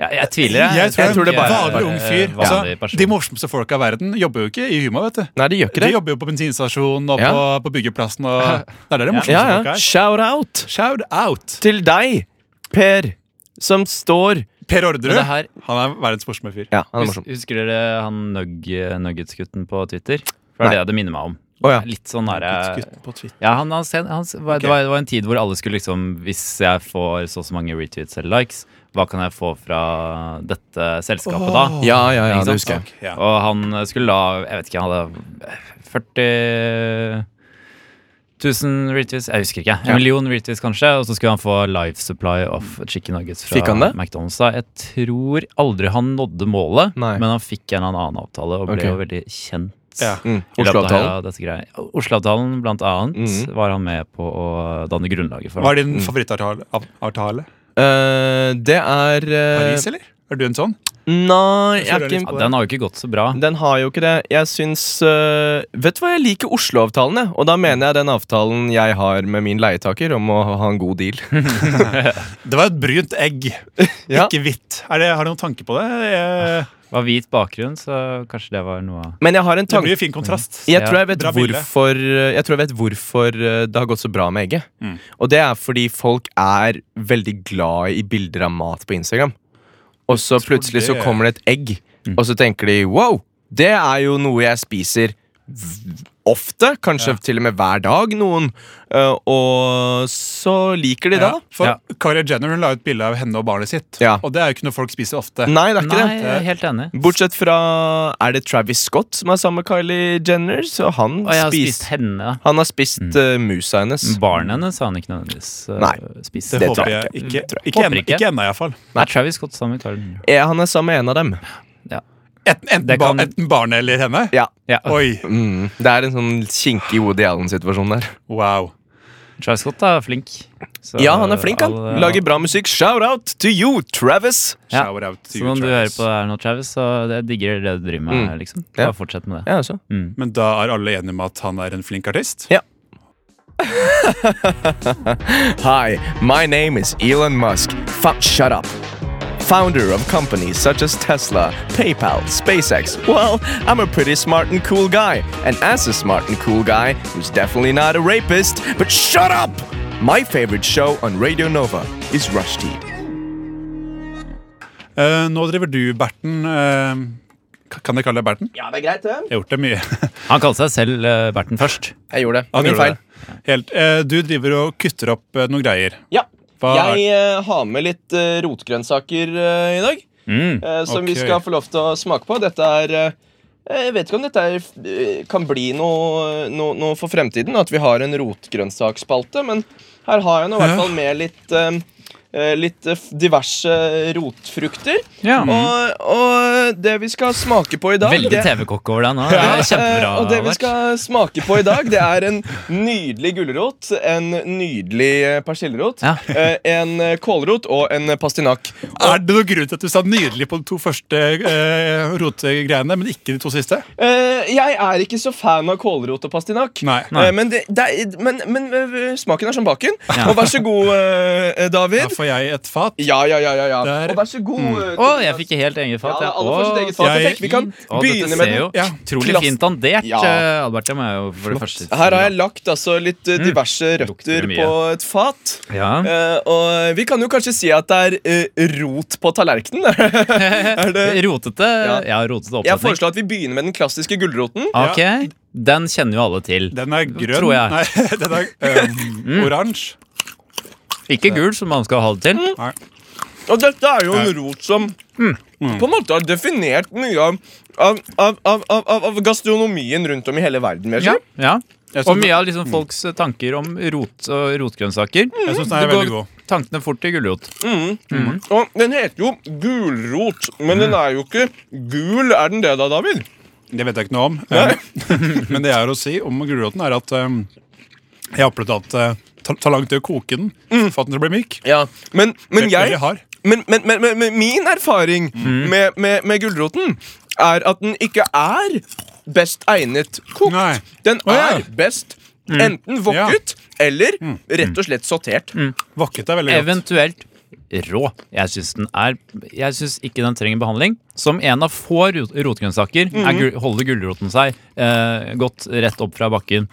S3: Ja, jeg tviler.
S2: Jeg tror,
S1: jeg tror
S2: det
S1: det
S2: er
S1: bare
S2: en
S1: er-
S2: vanlig ung fyr.
S3: eh, vanlig
S2: Altså,
S3: person.
S2: de morsomste folka i verden jobber jo ikke i humor, vet du.
S1: Nei, det gjør ikke
S2: De
S1: det.
S2: jobber jo på bensinstasjonen og
S1: Ja.
S2: på, på byggeplassen. Og det er der de morsomste
S1: Ja,
S2: folka
S1: ja.
S2: er.
S1: Shout out
S2: Shout out!
S1: til deg, Per, som står
S2: Per
S3: Men
S2: Orderud.
S3: det her,
S2: Han er verdens morsomste fyr.
S1: Ja, han er
S3: hus,
S1: morsom.
S3: husker dere han nugg, Nuggets-gutten på Twitter? For det
S1: Nei.
S3: er det det minner meg om.
S1: Å ja.
S3: Litt sånn herre
S2: Gutt på Twitter.
S3: ja, han, han, sen- han, s- var- det, var, det var en tid hvor alle skulle liksom Hvis jeg får så og så mange retweets eller likes, hva kan jeg få fra dette selskapet da?
S1: Ja, ja, ja,
S3: Ikke
S1: det
S3: sant?
S1: husker jeg.
S2: Ja.
S3: Og han skulle da Jeg vet ikke, han hadde 40 000 retweets, jeg husker ikke. En
S1: Ja.
S3: million retweets, kanskje. Og så skulle han få life supply of chicken nuggets fra
S1: Fikk han det?
S3: McDonald's. da. Jeg tror aldri han nådde målet,
S1: Nei.
S3: men han fikk en eller annen avtale og ble
S1: Ok.
S3: jo veldig kjent.
S2: Ja.
S1: Mm.
S3: i løpet av
S1: Oslo-avtalen.
S3: dette greia. Oslo-avtalen, blant annet,
S1: Mhm.
S3: var han med på å danne grunnlaget for.
S2: Hva er din favorittavtale? av- avtale?
S1: Eh, det er eh,
S2: Paris, eller? Er du en sånn?
S1: Nei, jeg
S2: Jeg
S1: er
S2: føler jeg
S3: Ja,
S1: ikke
S3: den har jo ikke gått så bra.
S1: den har jo ikke det. Jeg syns øh, Vet du hva, jeg liker Oslo-avtalen, jeg. Og da mener jeg den avtalen jeg har med min leietaker om å ha en
S2: <laughs>
S1: god deal.
S2: Det var et brunt egg, <laughs>
S1: Ja.
S2: ikke hvitt. Er det, har du noen tanke på det? Jeg,
S3: Var hvit bakgrunn, så kanskje det var noe av
S1: Men jeg har en
S2: det blir
S1: tanke.
S2: jo fin kontrast.
S1: Jeg tror jeg, vet
S2: Bra bilde.
S1: hvorfor, øh, jeg tror jeg vet hvorfor øh, det har gått så bra med egget.
S2: Mm.
S1: Og det er fordi folk er veldig glad i bilder av mat på Instagram. Og så
S2: tror
S1: plutselig så
S2: det-
S1: kommer det et egg,
S3: Mm.
S1: og så tenker de wow, det er jo noe jeg spiser v- ofte. Kanskje
S2: Ja.
S1: til og med hver dag, noen. Eh, og så liker de det,
S2: Ja,
S1: da.
S2: for
S3: Ja.
S2: Kylie Jenner hun la ut bilde av henne og barnet sitt,
S1: Ja.
S2: og det er jo ikke noe folk spiser ofte.
S1: Nei, det er ikke
S3: Nei,
S1: det.
S3: jeg er helt enig.
S1: Bortsett fra Er det Travis Scott som er sammen med Kylie Jenner? Så han,
S3: Og jeg har spist
S1: spist,
S3: henne.
S1: han har spist
S2: Mm.
S1: eh, musa hennes.
S3: Barnet hennes har han ikke nødvendigvis uh,
S1: Nei,
S3: spist.
S2: Det,
S1: det tror
S2: håper jeg
S1: jeg
S2: ikke.
S3: Tror jeg
S2: Ikke,
S3: håper
S2: ennå-
S3: ikke.
S2: ikke ennå, iallfall.
S3: Er Travis Scott sammen med Carl?
S1: Eh, han er sammen med en av dem.
S2: Enten, enten,
S3: Det
S2: ba,
S3: kan-
S2: enten barnet eller henne.
S1: Ja.
S3: Ja, altså,
S2: Oi,
S1: Mm. Det er en sånn kinkig Woody Allen-situasjon der.
S2: wow.
S3: Travis Scott er flink. Så,
S1: Ja, han er flink, han.
S3: alle-
S1: Lager bra musikk. Shout out to you, Travis!
S3: Ja.
S2: Shower out to
S3: Så
S2: you,
S3: om du hører
S2: Travis.
S3: på det her nå, Travis, så jeg digger det du driver med,
S1: Mm.
S3: liksom.
S1: Ja.
S3: Bare fortsett med det.
S1: Ja, altså.
S3: Mm.
S2: Men da er alle enige om at han er en flink artist?
S1: Ja. Hi, my name is Elon Musk. Fuck, shut up. Founder of companies such as Tesla, PayPal, SpaceX. Well, I'm a pretty smart and cool guy. And as a smart and cool guy, who's definitely not a rapist, but shut up! My favorite show on Radio Nova is Rushdie.
S2: Eh, nå driver du, Berten. eh, kan jeg kalle deg Berten?
S1: Ja, det er greit, det.
S2: Jeg har gjort det mye.
S3: Han kalte seg selv eh, Berten først.
S1: Jeg gjorde det.
S2: Han <laughs>
S1: Min
S2: gjorde
S1: feil.
S2: det. Helt. Eh, du driver og kutter opp eh, noen greier.
S1: Ja.
S2: Hva
S1: Jeg eh, har med litt eh, rotgrønnsaker eh, i dag.
S3: Mm.
S1: eh, som vi
S2: Ok.
S1: skal få lov til å smake på. Dette er eh, Jeg vet ikke om dette er, eh, kan bli noe, noe, noe for fremtiden, at vi har en rotgrønnsaksspalte, men her har jeg nå i hvert fall med litt eh, eh, Litt eh, f- diverse rotfrukter.
S3: Ja.
S1: Og, og det vi skal smake på i dag
S3: Veldig
S1: det-
S3: TV-kokk over deg nå.
S1: ja,
S3: Det er Kjempebra.
S1: eh, Og det vi
S3: Albert.
S1: skal smake på i dag, det er en nydelig gulrot, en nydelig eh, persillerot,
S3: Ja.
S1: eh, en eh, kålrot og en eh, pastinakk.
S2: Er det noen grunn til at du sa nydelig på de to første eh, rotegreiene, men ikke de to siste?
S1: Eh, jeg er ikke så fan av kålrot og pastinakk.
S2: Nei.
S1: Eh, men, det, det er, men, men eh, smaken er som baken.
S3: Ja.
S1: Og vær så god, eh, David.
S2: Ja, får jeg et fat.
S1: Ja, ja, ja. ja, ja.
S2: Der.
S1: Og vær så god. eh,
S3: Å,
S1: Tobias.
S3: jeg fikk helt eget fat.
S1: Ja,
S3: jeg.
S1: alle får sitt
S3: Å,
S1: eget fat.
S2: jeg-
S1: Jeg tenker vi kan
S3: Å,
S1: begynne
S3: dette
S1: med
S3: ser
S1: den.
S3: jo
S2: Ja.
S3: utrolig
S1: Klass-
S3: fint dandert,
S1: Ja.
S3: eh, Albert. Det må jeg jo for det første si.
S1: Her har jeg lagt altså, litt eh,
S3: Mm.
S1: diverse
S3: Lukter
S1: røtter
S3: mye.
S1: på et fat.
S3: ja.
S1: Eh, og vi kan jo kanskje si at det er eh, rot på tallerkenen. <laughs> er det?
S3: Rotete.
S1: Ja.
S3: Ja, rotete oppsetning.
S1: Jeg foreslår at vi begynner med den klassiske gulroten.
S3: Ok, Den kjenner jo alle til.
S2: Den er grønn.
S3: Tror jeg. Mm.
S2: Nei, <laughs> den er øhm, oransje.
S3: Ikke gul, som man skal ha det til.
S2: Nei.
S1: Og dette er jo en
S2: Ja. Mm.
S1: rot som på en måte har definert mye av, av, av, av, av, av gastronomien rundt om i hele verden. vil jeg
S3: Ja,
S1: si.
S3: ja.
S2: Jeg
S3: Og
S2: synes Mm.
S3: mye av liksom folks eh, tanker om rot og rotgrønnsaker.
S2: Jeg synes den er
S3: Det går
S2: veldig god.
S3: Tankene fort til gulrot.
S1: Og den heter jo gulrot, men
S2: Mm.
S1: den er jo ikke gul. Er den det, da, David?
S2: Det vet jeg ikke noe om. Eh, <laughs> Men det jeg har å si om gulroten, er at eh, jeg har opplevd at eh, ta, ta lang tid å koke den
S3: Mm.
S2: for at den skal bli myk.
S1: Ja, Men, men
S2: Veldig
S1: jeg
S2: hard. Mm.
S1: men, men, men, men, men min erfaring med, med, med gulroten er at den ikke er best egnet kokt.
S2: Nei.
S1: Den
S2: Å, ja. Mm.
S1: er best enten wokket eller rett og slett sortert.
S2: Mm. Vokket er veldig godt.
S3: Eventuelt rå. Jeg syns den er Jeg synes ikke den trenger behandling. Som en av få rot rotgrønnsaker
S2: Mm.
S3: er gul holder gulroten seg eh, godt rett opp fra bakken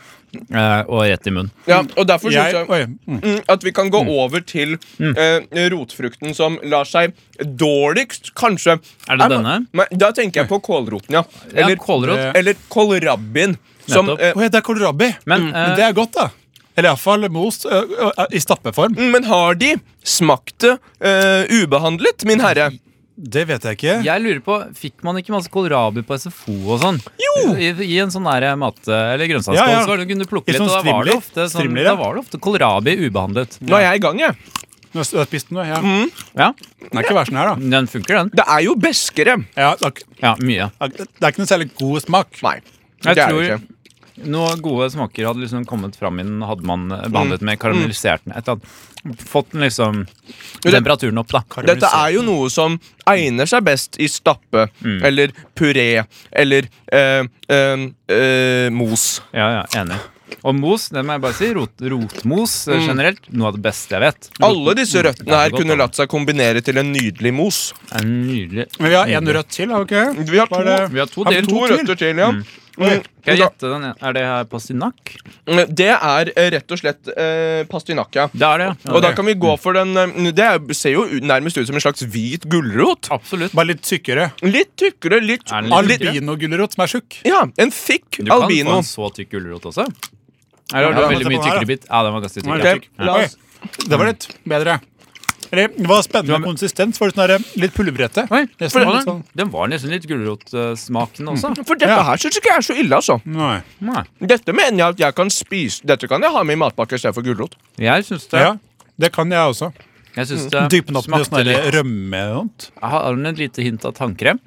S3: eh, og rett i munnen.
S1: Ja, og derfor syns
S2: Jeg,
S1: jeg
S2: oi, mm.
S1: mm, at vi kan gå over til
S3: Mm.
S1: eh, rotfrukten som lar seg dårligst, kanskje
S3: Er det
S1: Nei,
S3: denne?
S1: Nei, da tenker jeg på kålroten, ja.
S3: Ja,
S1: Eller,
S3: kålrot.
S2: det-
S1: eller kålrabbien. Som
S3: Nettopp.
S1: eh,
S2: Oi, det er kålrabi.
S3: Men,
S2: Mm.
S3: eh,
S2: det er godt, da. Eller iallfall most ø, ø, ø, i stappeform.
S1: mm, Men har de smakt det eh, ubehandlet, min herre?
S3: Mm.
S2: Det vet jeg ikke.
S3: Jeg lurer på, Fikk man ikke masse kålrabi på SFO og sånn? Jo! I, i en sånn der mat- eller grønnsaksskål.
S2: Ja, ja.
S3: Så var det- kunne du plukke
S2: I
S3: litt,
S2: sånn
S3: og da var, det
S2: strimler.
S3: ofte, sånn,
S2: Strimler,
S3: da
S2: ja.
S3: var det ofte kålrabi ubehandlet.
S1: Nå er jeg i gang, jeg.
S2: Nå har jeg spist den, nå, ja.
S3: Mm. Ja,
S2: Den er ikke versen her, da.
S3: Den funker, den.
S1: Det er jo beskere.
S2: Ja, det, er, ikke-
S3: Ja, Mye.
S2: det er ikke noe særlig god smak.
S1: Nei.
S3: Jeg
S1: det er
S3: tror
S1: det ikke.
S3: Noen gode smaker hadde liksom kommet fram i den, hadde man eh, behandlet
S2: Mm.
S3: med karamellisert den. Et eller annet. Fått den liksom temperaturen opp, da.
S1: Dette er jo noe som egner seg best i stappe
S3: Mm.
S1: eller puré eller eh, eh, eh, mos.
S3: Ja, ja, Enig. Og mos, det må jeg bare si, rot, rotmos eh,
S2: Mm.
S3: generelt, noe av det beste jeg vet.
S1: Alle disse røttene
S3: Mm.
S1: her
S3: det er godt,
S1: kunne
S3: da.
S1: latt seg kombinere til en nydelig mos.
S3: Er nydelig.
S2: Men vi har én rødt til, har vi ikke?
S1: Vi har
S2: Hva
S1: to,
S2: er det?
S3: Vi har to
S2: Har vi
S3: til.
S1: to
S2: to til?
S1: røtter til, ja. Mm.
S3: Skal jeg Mm.
S1: Da-
S3: gjette den? ene? Er det her pastinakk?
S1: Det er eh, rett og slett eh, pastinakka.
S3: Det er det, ja.
S1: Og da kan vi gå for den eh, Det er- ser jo ut- nærmest ut som en slags hvit gulrot.
S3: Absolutt.
S2: Bare litt tykkere.
S1: Litt tykkere, litt
S3: Er den litt tykkere?
S2: Albinogulrot som er tjukk.
S1: Ja, en fikk
S3: Du kan få
S1: albino.
S3: en så tykk gulrot også. Eller har du
S2: Ja,
S3: en veldig
S2: se på
S3: mye
S2: den her, da.
S3: tykkere bit? Ja, den var ganske
S2: Nei,
S3: tykk.
S2: det-
S3: ja.
S1: Ok, la oss
S2: Det var litt bedre. Eller, det var spennende med konsistens. Var det sånn der, litt pulverete?
S3: Oi,
S2: Nesten
S3: for Mm.
S2: litt
S3: den,
S2: sånn-
S3: den var nesten litt gulrotsmakende også.
S1: For dette
S2: Ja.
S1: her syns ikke jeg er så ille, altså.
S2: Nei.
S3: Nei.
S1: Dette mener jeg at jeg kan spise Dette kan jeg ha med i matpakke istedenfor gulrot.
S3: Jeg syns det.
S2: Ja, det kan jeg også.
S3: Jeg syns det
S2: Dypen opp med
S3: smakte
S2: sånn der
S3: litt
S2: rømme og sånt.
S3: Har den et lite hint av tannkrem?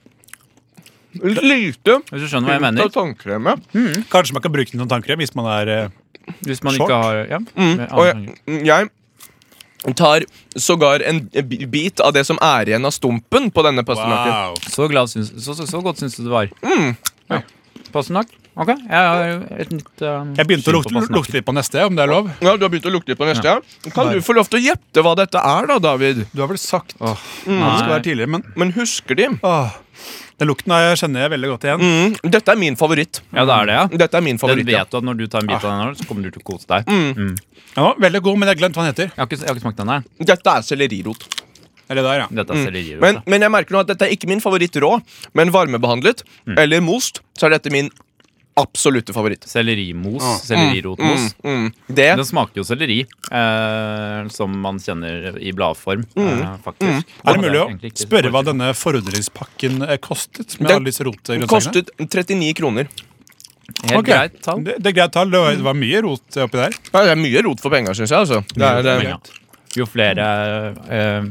S1: Lite
S3: Hvis du skjønner hva jeg
S1: av
S2: Mm.
S3: mener?
S1: tannkreme.
S2: Kanskje man kan bruke den som tannkrem hvis man er eh,
S3: Hvis man
S2: Short. Mm.
S3: ikke har ja, med
S1: Og
S3: annen
S1: jeg, Mm, jeg tar sågar en bi- bit av det som er igjen av stumpen på denne pastinakken.
S2: Wow.
S3: tannkrem. så, glad syns, så, så, så godt syns du det var. Mm. Ja. Pastinakk? Ok, jeg har et nytt um,
S2: Jeg begynte å
S3: syn på
S2: lukte,
S3: pastinakken.
S2: lukte litt på neste, om det er lov.
S1: Ja, Du har begynt å lukte litt på neste. ja. Kan du få lov til å gjette hva dette er, da, David?
S2: Du har vel sagt
S3: Åh,
S2: det skal være
S3: Nei.
S2: tidligere, men
S1: Men husker de?
S2: åh, den lukten her kjenner jeg veldig godt igjen.
S1: Mm, dette er min favoritt.
S3: Ja, det er det, ja.
S1: Dette er min
S3: Den
S1: favoritt, ja.
S3: vet du at når du tar en bit av den, her, så kommer du til å kose deg.
S2: Den var veldig god, men jeg har glemt hva den heter.
S3: Jeg, har ikke, jeg har ikke smakt den her.
S1: Dette er sellerirot.
S2: Eller der, ja.
S3: Dette er sellerirot.
S1: Mm. Men,
S3: da.
S1: men jeg merker nå at dette er ikke min favoritt rå, men varmebehandlet eller most, så er dette min absolutte favoritt.
S3: Sellerimos.
S1: Mm,
S3: Sellerirotmos.
S1: mm. Det
S3: Den smaker jo selleri, eh, som man kjenner i bladform,
S1: Mm.
S3: eh, faktisk.
S2: Er det mulig å spørre hva denne forundringspakken eh, kostet? med
S1: Den
S2: alle disse rotegrønnsakene?
S1: kostet 39 kroner.
S3: Helt
S2: Ok.
S3: greit tall.
S2: Det, det er greit tall. Det var, det var mye rot oppi der.
S1: Ja, det er mye rot for penga, syns jeg. Altså. Det er, det
S3: Men ja, Jo flere eh,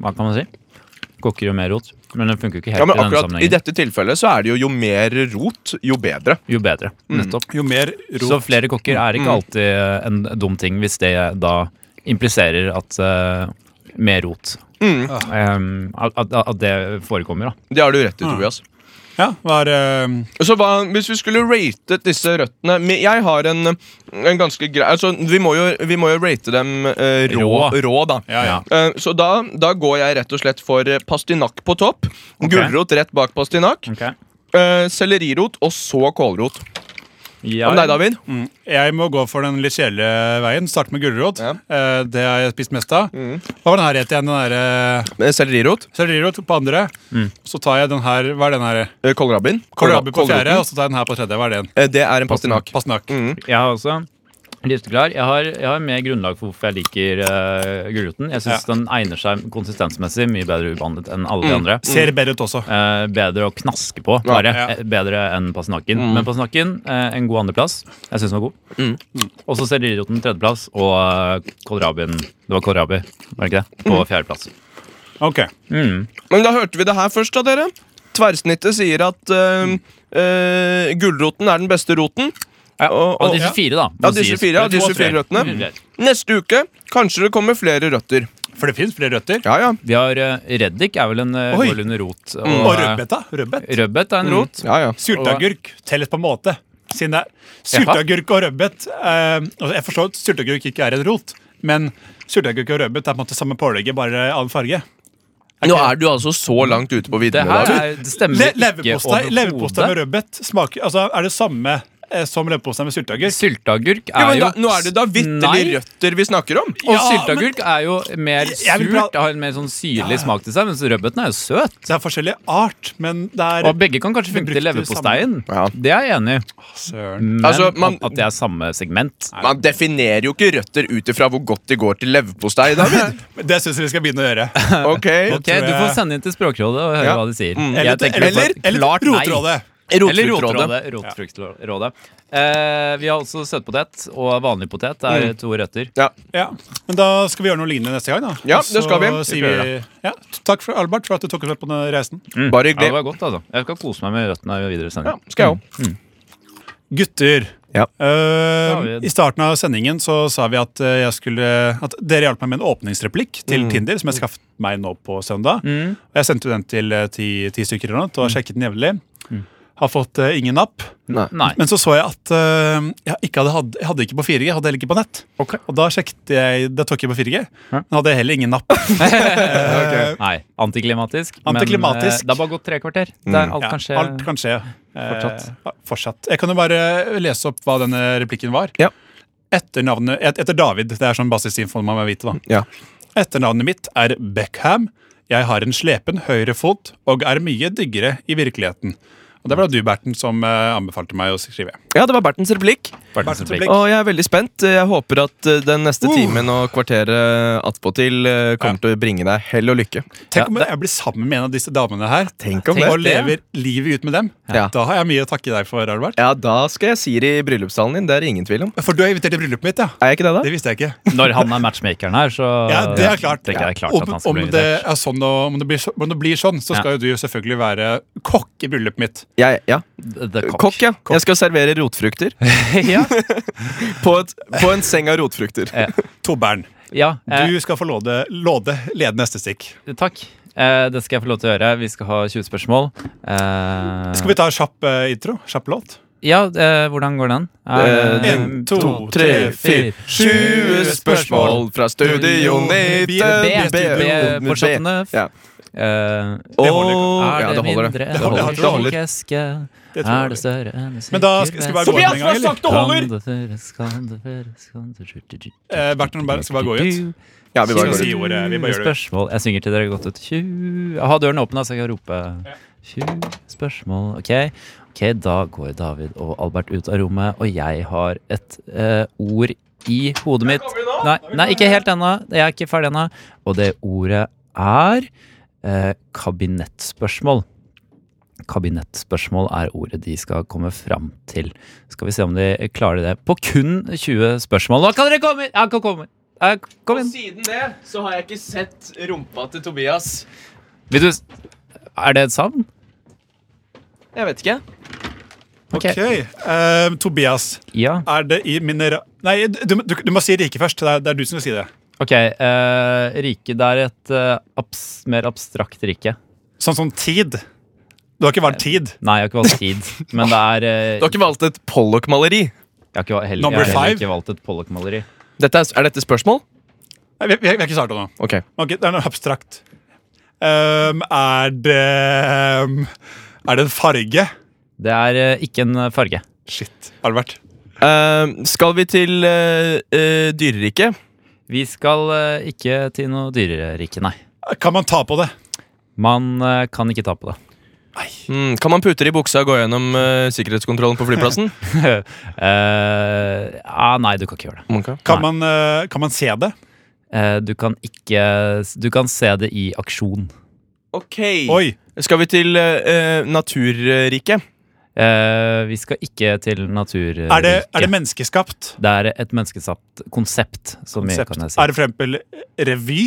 S3: Hva kan man si? Kokker jo mer rot. Men den funker jo ikke helt
S1: ja, men
S3: i denne
S1: akkurat I
S3: sammenhengen.
S1: dette tilfellet så er det jo jo mer rot, jo bedre.
S3: Jo bedre.
S1: Mm.
S3: Nettopp.
S2: Jo mer rot
S3: Så flere kokker er ikke alltid eh, en dum ting, hvis det da impliserer at eh,
S1: Mm.
S3: mer rot. Eh, at, at, at det forekommer, da.
S1: Det har du rett i, Tobias.
S2: Ja, var eh,
S1: Så hva, Hvis vi skulle ratet disse røttene men Jeg har en, en ganske grei altså, vi, må jo, vi må jo rate dem eh, rå,
S3: Rå.
S1: rå. da.
S2: Ja, ja.
S1: Eh, så da, da går jeg rett og slett for eh, pastinakk på topp. Gulrot rett bak pastinakk.
S3: Ok.
S1: eh, sellerirot og så kålrot.
S3: Ja,
S1: Om deg, David?
S2: mm, Jeg må gå for den litt kjedelige veien. Starte med gulrot.
S1: Ja.
S2: Eh, det har jeg spist mest av. Hva var den her het igjen? Den der, eh,
S1: Eh, Sellerirot.
S2: Sellerirot på andre. Så tar jeg den her. Hva er den her?
S1: eh, Kålrabbin.
S2: Kålrabi på
S1: kålroten,
S2: fjerde, og så tar jeg den her på tredje. Hva er det igjen?
S1: eh, Det er en pastinakk.
S2: Pastinakk.
S1: Mm.
S3: Jeg har også Listeklar. Jeg har, jeg har mer grunnlag for hvorfor jeg liker eh, gulroten. Jeg syns den egner seg konsistensmessig mye bedre ubehandlet enn
S1: Mm.
S3: alle de andre.
S2: Ser bedre ut også.
S3: Eh, bedre å knaske på, bare.
S2: Ja, ja.
S3: Eh, Bedre enn pasinakken.
S1: Mm.
S3: Men pasinakken, eh, en god andreplass. Jeg syns den var god. Og så selleririoten tredjeplass, og eh, kålrabien Det var kålrabi, var det ikke det?
S1: Mm.
S3: På fjerdeplass.
S2: Ok.
S3: Mm.
S1: Men da hørte vi det her først, da, dere. Tverrsnittet sier at eh, eh, gulroten er den beste roten. Og,
S3: Og
S1: og,
S3: disse fire, da.
S1: ja,
S3: må
S1: disse
S3: sies.
S1: fire, ja,
S3: To og
S1: disse
S3: tre.
S1: fire røttene.
S3: Mm.
S1: Neste uke kanskje det kommer flere røtter.
S2: For det fins flere røtter.
S1: Ja, ja.
S3: Vi har eh, reddik, er vel en eh,
S2: Oi.
S3: går under rot. Og,
S1: Mm.
S2: Og
S3: eh,
S2: rødbet, da. Rødbet.
S3: Rødbet er en rot.
S1: ja, ja.
S2: Sylteagurk telles på en måte. Siden det er sylteagurk og rødbet eh, altså Jeg forstår at sylteagurk ikke er en rot, men sylteagurk og rødbet er på en måte samme pålegget, bare annen farge.
S1: Nå er du altså så langt ute på
S3: Det
S1: viddene.
S3: her
S1: da.
S3: er, det stemmer
S2: Le
S3: ikke
S2: leverpostei leverpostei med
S3: overhodet.
S2: rødbet smaker, altså, er det samme eh, som leverpostei med sylteagurk.
S3: Sylteagurk
S1: Ja,
S3: er
S1: men
S3: jo
S1: da, nå er det da vitterlig
S3: Nei.
S1: røtter vi snakker om.
S3: Og
S2: Ja,
S3: sylteagurk er jo mer
S2: Jeg vil prate-
S3: surt, har en mer sånn syrlig smak til seg, mens rødbeten er jo søt.
S2: Det er forskjellig art, men det er
S3: Og begge kan kanskje
S2: Vi
S3: funke til
S2: brukte
S3: leverposteien.
S1: Ja.
S3: Det er jeg enig i.
S2: Søren.
S3: Men
S1: Altså, man-
S3: at- at det er samme segment
S1: Man definerer jo ikke røtter ut ifra hvor godt de går til
S3: <laughs>
S1: leverpostei, David.
S2: Men Det syns jeg vi skal begynne å gjøre.
S1: Ok,
S3: Ok, Du får sende inn til Språkrådet og høre
S1: Ja. Mm.
S3: hva de sier.
S2: Eller,
S3: <laughs> Jeg tenker det får
S2: eller,
S3: et
S2: eller
S3: klart nei.
S2: Roterådet.
S3: Eller
S1: Rotfruktrådet.
S3: Rotrådet. Rotfruktrådet. Eh, vi har også søtpotet og vanlig potet. Det
S1: Mm.
S3: er to røtter.
S1: Ja.
S2: Ja. Men da skal vi gjøre noe lignende neste gang. da
S1: Ja,
S2: Og
S1: det skal vi.
S2: så
S1: Vi
S2: Sier
S1: skal
S2: vi, ja, takk for Albert for at du tok oss med på denne reisen.
S3: Ja,
S1: Bare
S3: det
S1: hyggelig.
S3: var godt, altså. Jeg skal kose meg med røttene videre i
S1: Ja,
S3: sendingen.
S1: skal jeg òg.
S2: Gutter.
S3: Mm.
S1: Ja.
S2: Eh,
S3: vi-
S2: I starten av sendingen så sa vi at, eh, jeg skulle, at dere hjalp meg med en åpningsreplikk til
S3: Mm.
S2: Tinder, som jeg skaffet meg nå på søndag. Og Jeg sendte den til eh, ti, ti stykker eller noe,
S3: Mm.
S2: og har sjekket den jevnlig. Har fått eh, ingen napp.
S3: Nei.
S2: Men så så jeg at eh, jeg, ikke hadde, hatt- jeg hadde ikke på 4G, jeg hadde heller ikke på nett.
S3: Ok.
S2: Og da sjekket jeg, da tok jeg på 4G,
S3: Hæ?
S2: men hadde heller ingen napp.
S3: <laughs>
S2: Eh,
S3: Nei. Antiklimatisk. Men eh,
S2: Antiklimatisk. Mm.
S3: det er bare gått tre kvarter. Det er alt
S2: ja,
S3: kan skje.
S2: Alt kan skje. Eh,
S3: Fortsatt.
S2: ja, fortsatt. Jeg kan jo bare eh, lese opp hva denne replikken var.
S1: Ja.
S2: Etter, navnet, et, etter David. Det er sånn basisinfo man må vite. da.
S1: Ja.
S2: Etternavnet mitt er Beckham. Jeg har en slepen høyre fot og er mye diggere i virkeligheten. Og Det var du, Berten, som eh, anbefalte meg å skrive.
S1: ja, det var Bertens replikk.
S3: Bartens
S2: Bartens replikk.
S1: Og jeg er veldig spent. Jeg håper at eh, den neste timen og kvarteret attpåtil eh, kommer til å bringe deg hell og lykke.
S2: Tenk om jeg blir sammen med en av disse damene her
S1: Tenk om
S2: og
S1: det.
S3: det.
S2: lever livet ut med dem.
S1: Ja.
S2: Da har jeg mye å takke deg for, Albert.
S1: Ja, da skal jeg si det i bryllupssalen din. Det er det ingen tvil om.
S2: For du har invitert til bryllupet mitt, ja.
S1: Er jeg ikke det, da?
S2: Det visste jeg ikke.
S3: Når han er matchmakeren her, så
S2: Ja, det er klart.
S3: tenker jeg det er klart
S2: om,
S3: at han skal
S2: om,
S3: bli
S2: det
S3: invitert.
S2: er sånn, og om, det blir, så- om det blir sånn, så
S3: Ja.
S2: skal jo du jo selvfølgelig være kokk i bryllupet mitt.
S1: Jeg, ja.
S3: The cock.
S1: Kokk, ja. Jeg skal servere rotfrukter.
S3: <laughs> ja.
S1: På, et, på en seng av rotfrukter.
S2: Tobbern, <laughs>
S3: ja eh,
S2: du skal få låde, låde lede neste stikk.
S3: Takk. Eh, det skal jeg få lov til å gjøre. Vi skal ha 20 spørsmål. Eh,
S2: Skal vi ta en kjapp eh, intro? Kjapp låt?
S3: Ja, eh, hvordan går den?
S1: Eh,
S3: Eh,
S2: en, to,
S1: Tre, fire, 20 spørsmål fra Studio 19
S2: B,
S3: B, B, fortsattene.
S1: Ja.
S3: eh,
S2: Det holder jo.
S1: Og
S3: er
S1: ja,
S3: det
S1: det holder,
S3: mindre
S1: det.
S3: enn
S2: holder, det
S3: en
S2: holder.
S3: folkeske?
S2: Det tror jeg
S3: Er det større enn en
S2: Men da skal, skal vi bare gå den en gang, eller?
S3: Kan det føres, kan det føres, kan det føres.
S2: Eh, Bertrand, bare- skal vi bare gå ut?
S1: Ja, vi bare
S2: Skal
S1: går
S2: si
S1: ut.
S2: ordet, vi bare gjør det.
S3: Spørsmål. Jeg synger til dere godt ut. 20 Ha døren åpen, da, så jeg kan rope. 20 spørsmål. Ok. Ok, Da går David og Albert ut av rommet, og jeg har et eh, ord i hodet mitt. Nei, nei, ikke helt ennå. Jeg er ikke ferdig ennå. Og det ordet er eh, kabinettspørsmål. Kabinettspørsmål er ordet de skal komme fram til. Skal vi se om de klarer det på kun 20 spørsmål. Nå kan dere komme inn! Ja, kom, kom, inn. Ja, kom inn.
S1: siden det så har jeg ikke sett rumpa til Tobias.
S3: Vil du Er det et savn?
S1: Jeg vet ikke.
S3: Ok.
S2: Ok, eh, Tobias,
S3: Ja.
S2: er det i minera... Nei, du, du, du må si rike først. Det er, det er du som skal si det.
S3: Ok. eh, rike, det er et eh, abs mer abstrakt rike.
S2: Sånn som tid. Du har ikke valgt tid.
S3: Nei, jeg har ikke
S2: <laughs>
S3: valgt tid. Men det er eh,
S1: Du har ikke valgt et Pollock-maleri.
S3: Jeg har ikke, val- heller,
S2: Number
S3: jeg har heller
S2: five.
S3: ikke valgt et Pollock-maleri.
S1: Dette er, er dette spørsmål?
S2: Nei, Vi, vi, vi har ikke starta nå.
S1: Ok.
S2: Ok, det er noe abstrakt. Ehm, er det ehm, Er det en farge?
S3: Det er eh, ikke en eh, farge.
S2: Shit, Albert.
S1: Eh, skal vi til eh, eh, dyreriket?
S3: Vi skal eh, ikke til noe dyrerike, nei.
S2: Kan man ta på det?
S3: Man eh, kan ikke ta på det. <laughs>
S1: Mm, kan man putte det i buksa og gå gjennom eh, sikkerhetskontrollen på flyplassen?
S3: Eh, ah, nei, du kan ikke gjøre det.
S1: Man kan.
S2: Kan man, eh, kan man se det?
S3: Eh, du kan ikke Du kan se det i aksjon.
S1: Ok.
S2: Oi!
S1: Skal vi til eh, eh, naturriket?
S3: Eh, vi skal ikke til naturriket.
S2: Er det, er det menneskeskapt?
S3: Det er et menneskesatt konsept, så mye
S2: Konsept.
S3: kan jeg si.
S2: Er det for eksempel revy?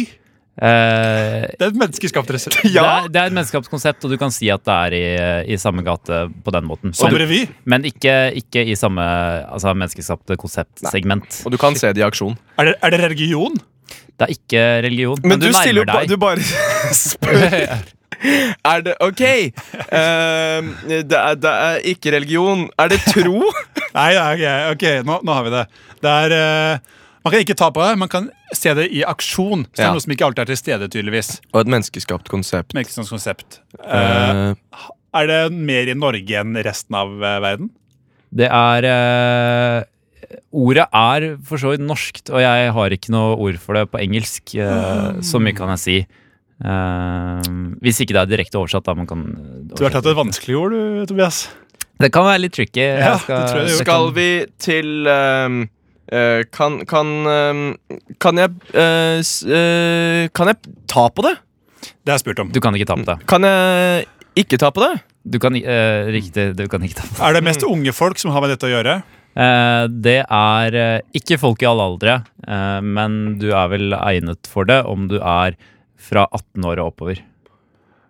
S3: Eh,
S2: Det er et menneskeskapt resept.
S3: <laughs> det, er, det er et menneskeskapt konsept, og du kan si at det er i, i samme gate på den måten.
S2: Som
S3: Men,
S2: revy?
S3: men ikke, ikke i samme altså, menneskeskapte konseptsegment.
S1: Og du kan se det i aksjon.
S2: Er det, er det religion?
S3: Det er ikke religion, men, du,
S1: stiller
S3: nærmer
S1: jo ba-
S3: deg.
S1: Du bare <laughs> spør. Er det Ok! Eh, det, er, det er ikke religion. Er det tro?
S2: Nei, nei, ok, ok, nå, nå har vi det. Det er eh, Man kan ikke ta på det, man kan se det i aksjon. Så det
S1: Ja.
S2: er noe som ikke alltid er til stede, tydeligvis.
S1: Og et menneskeskapt konsept.
S2: Med ikke sånn konsept. Eh,
S1: Eh,
S2: er det mer i Norge enn resten av eh, verden?
S3: Det er eh, Ordet er for så vidt norskt, og jeg har ikke noe ord for det på engelsk.
S2: Mm.
S3: eh, så mye kan jeg si. Eh, hvis ikke det er direkte oversatt, da. Man kan
S2: Du har tatt et vanskelig ord, du, Tobias.
S3: Det kan være litt tricky. Jeg
S2: Ja, det tror jeg det
S1: Skal
S3: kan-
S1: vi til ehm, eh, kan, kan, ehm, kan jeg eh, s- eh, Kan jeg ta på det?
S2: Det har jeg spurt om.
S3: Du kan ikke ta på det.
S1: Kan jeg ikke ta på det?
S3: Du kan, i- eh, riktig, du kan ikke ta på det.
S2: Er det mest unge folk som har med dette å gjøre?
S3: Eh, det er eh, ikke folk i alle aldre, eh, men du er vel egnet for det om du er fra 18 år og oppover.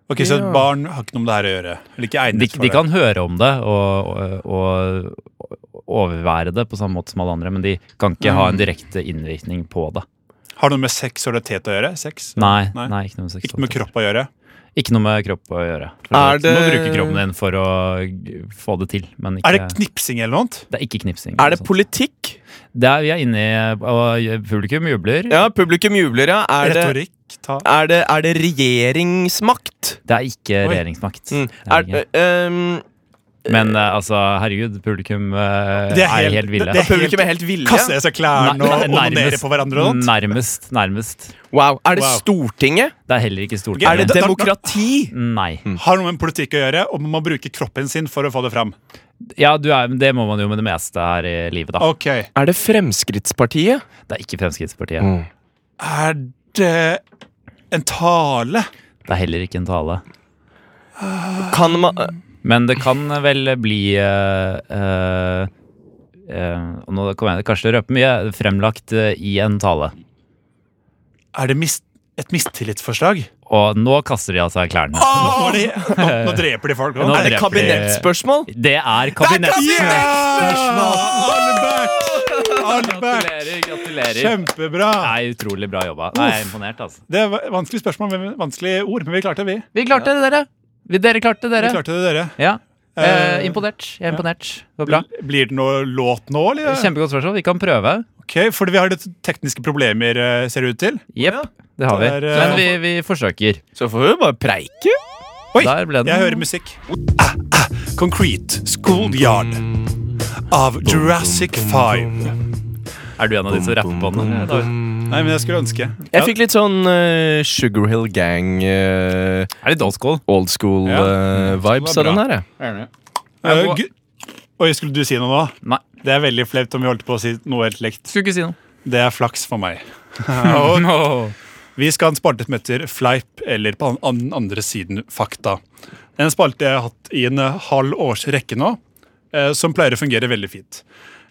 S2: Ok, Så et
S1: Ja.
S2: barn har ikke noe med det her å gjøre? Eller ikke
S3: De,
S2: egnet for
S3: de kan høre om det og, og, og overvære det på samme måte som alle andre, men de kan ikke ha en direkte innvirkning på det.
S2: det? Har det noe med seksualitet å gjøre? Sex?
S3: Nei,
S2: Nei.
S3: nei. ikke noe med
S2: Ikke noe med
S3: seksualitet.
S2: kropp å gjøre?
S3: Ikke noe med kropp å gjøre. For
S1: Er
S3: så vidt. Du må
S1: det-
S3: bruke kroppen din for å g- få det til, men ikke,
S2: Er det knipsing eller noe annet?
S3: det er ikke knipsing.
S1: Er det
S3: eller noe sånt.
S1: politikk?
S3: det er, vi er inne i Og publikum jubler.
S1: Ja, publikum jubler, ja. Er det,
S2: Retorikk? Ta.
S1: er det, er det regjeringsmakt?
S3: Det er ikke
S2: Oi.
S3: regjeringsmakt. Det
S1: Mm.
S3: er
S1: Er,
S3: ikke.
S1: ehm,
S3: Men eh, altså, herregud, publikum eh,
S2: Det er
S3: er, helt,
S2: helt-
S3: ville.
S2: det- det-
S1: publikum er helt ville?
S2: Kaste i seg klærne og
S3: Nei, nærmest.
S2: onanere på hverandre? og sånt?
S3: Nærmest, nærmest.
S1: Wow. Er det
S2: Wow.
S1: Stortinget?
S3: Det er heller
S2: Ok,
S3: ikke
S1: Er
S3: Stortinget.
S1: det
S2: Da- da-
S1: demokrati?
S3: Nei.
S2: har noe med politikk å gjøre, og man må bruke kroppen sin for å få det fram.
S3: Ja, du er, men det må man jo med det meste her i livet, da.
S2: Ok,
S1: Er det Fremskrittspartiet?
S3: Det er ikke Fremskrittspartiet.
S1: Mm.
S2: Er det en tale?
S3: Det er heller ikke en tale.
S1: Kan eh, man
S3: Men det kan vel bli eh, eh, eh, og Nå kommer jeg kanskje til å røpe mye. Fremlagt eh, i en tale.
S2: Er det mis et mistillitsforslag?
S3: Og nå kaster de av seg klærne.
S2: Nå, er det, nå, nå dreper de folk.
S3: Nå
S1: Er det
S3: dreper de-
S1: kabinettspørsmål?
S3: Det er kabinett.
S2: Albert! Albert!
S3: Gratulerer, gratulerer.
S2: Kjempebra!
S3: Nei, utrolig bra jobba. Nei, jeg er imponert, altså.
S2: Det var vanskelig spørsmål, men vanskelige ord, men vi klarte det, vi.
S3: Vi klarte det, dere. Vi- Dere klarte det,
S2: Vi
S3: dere.
S2: klarte det, dere.
S3: Ja.
S2: Eh,
S3: Eh, imponert. Jeg er imponert. Det var bra.
S2: Blir det noe låt nå, eller?
S3: Kjempegodt spørsmål. Vi kan prøve.
S2: Ok, For vi har litt tekniske problemer, eh, ser det ut til.
S3: Jepp. Det har vi.
S2: Det er, eh,
S3: Men vi, vi forsøker.
S1: Så får vi bare preike.
S2: Oi!
S3: Der ble den.
S2: Jeg hører musikk. Concrete Schoolyard av Jurassic 5.
S3: Er du en av de som rapper på den? David?
S2: Nei, men jeg skulle ønske.
S1: Jeg fikk litt sånn eh, Sugar Hill Gang, eh,
S3: Er litt old school.
S1: old school
S2: Ja. Mm,
S1: eh, vibes
S2: Det var
S1: av den
S2: bra.
S1: her. jeg.
S2: Eh, gu- Oi, skulle du si noe nå?
S3: Nei.
S2: Det er veldig flaut om vi holdt på å si noe helt likt.
S3: Skulle ikke si noe.
S2: Det er flaks for meg.
S3: No.
S2: Vi skal ha en spalte som heter Fleip eller på an- den andre siden fakta. En spalte jeg har hatt i en eh, halv års rekke nå, eh, som pleier å fungere veldig fint.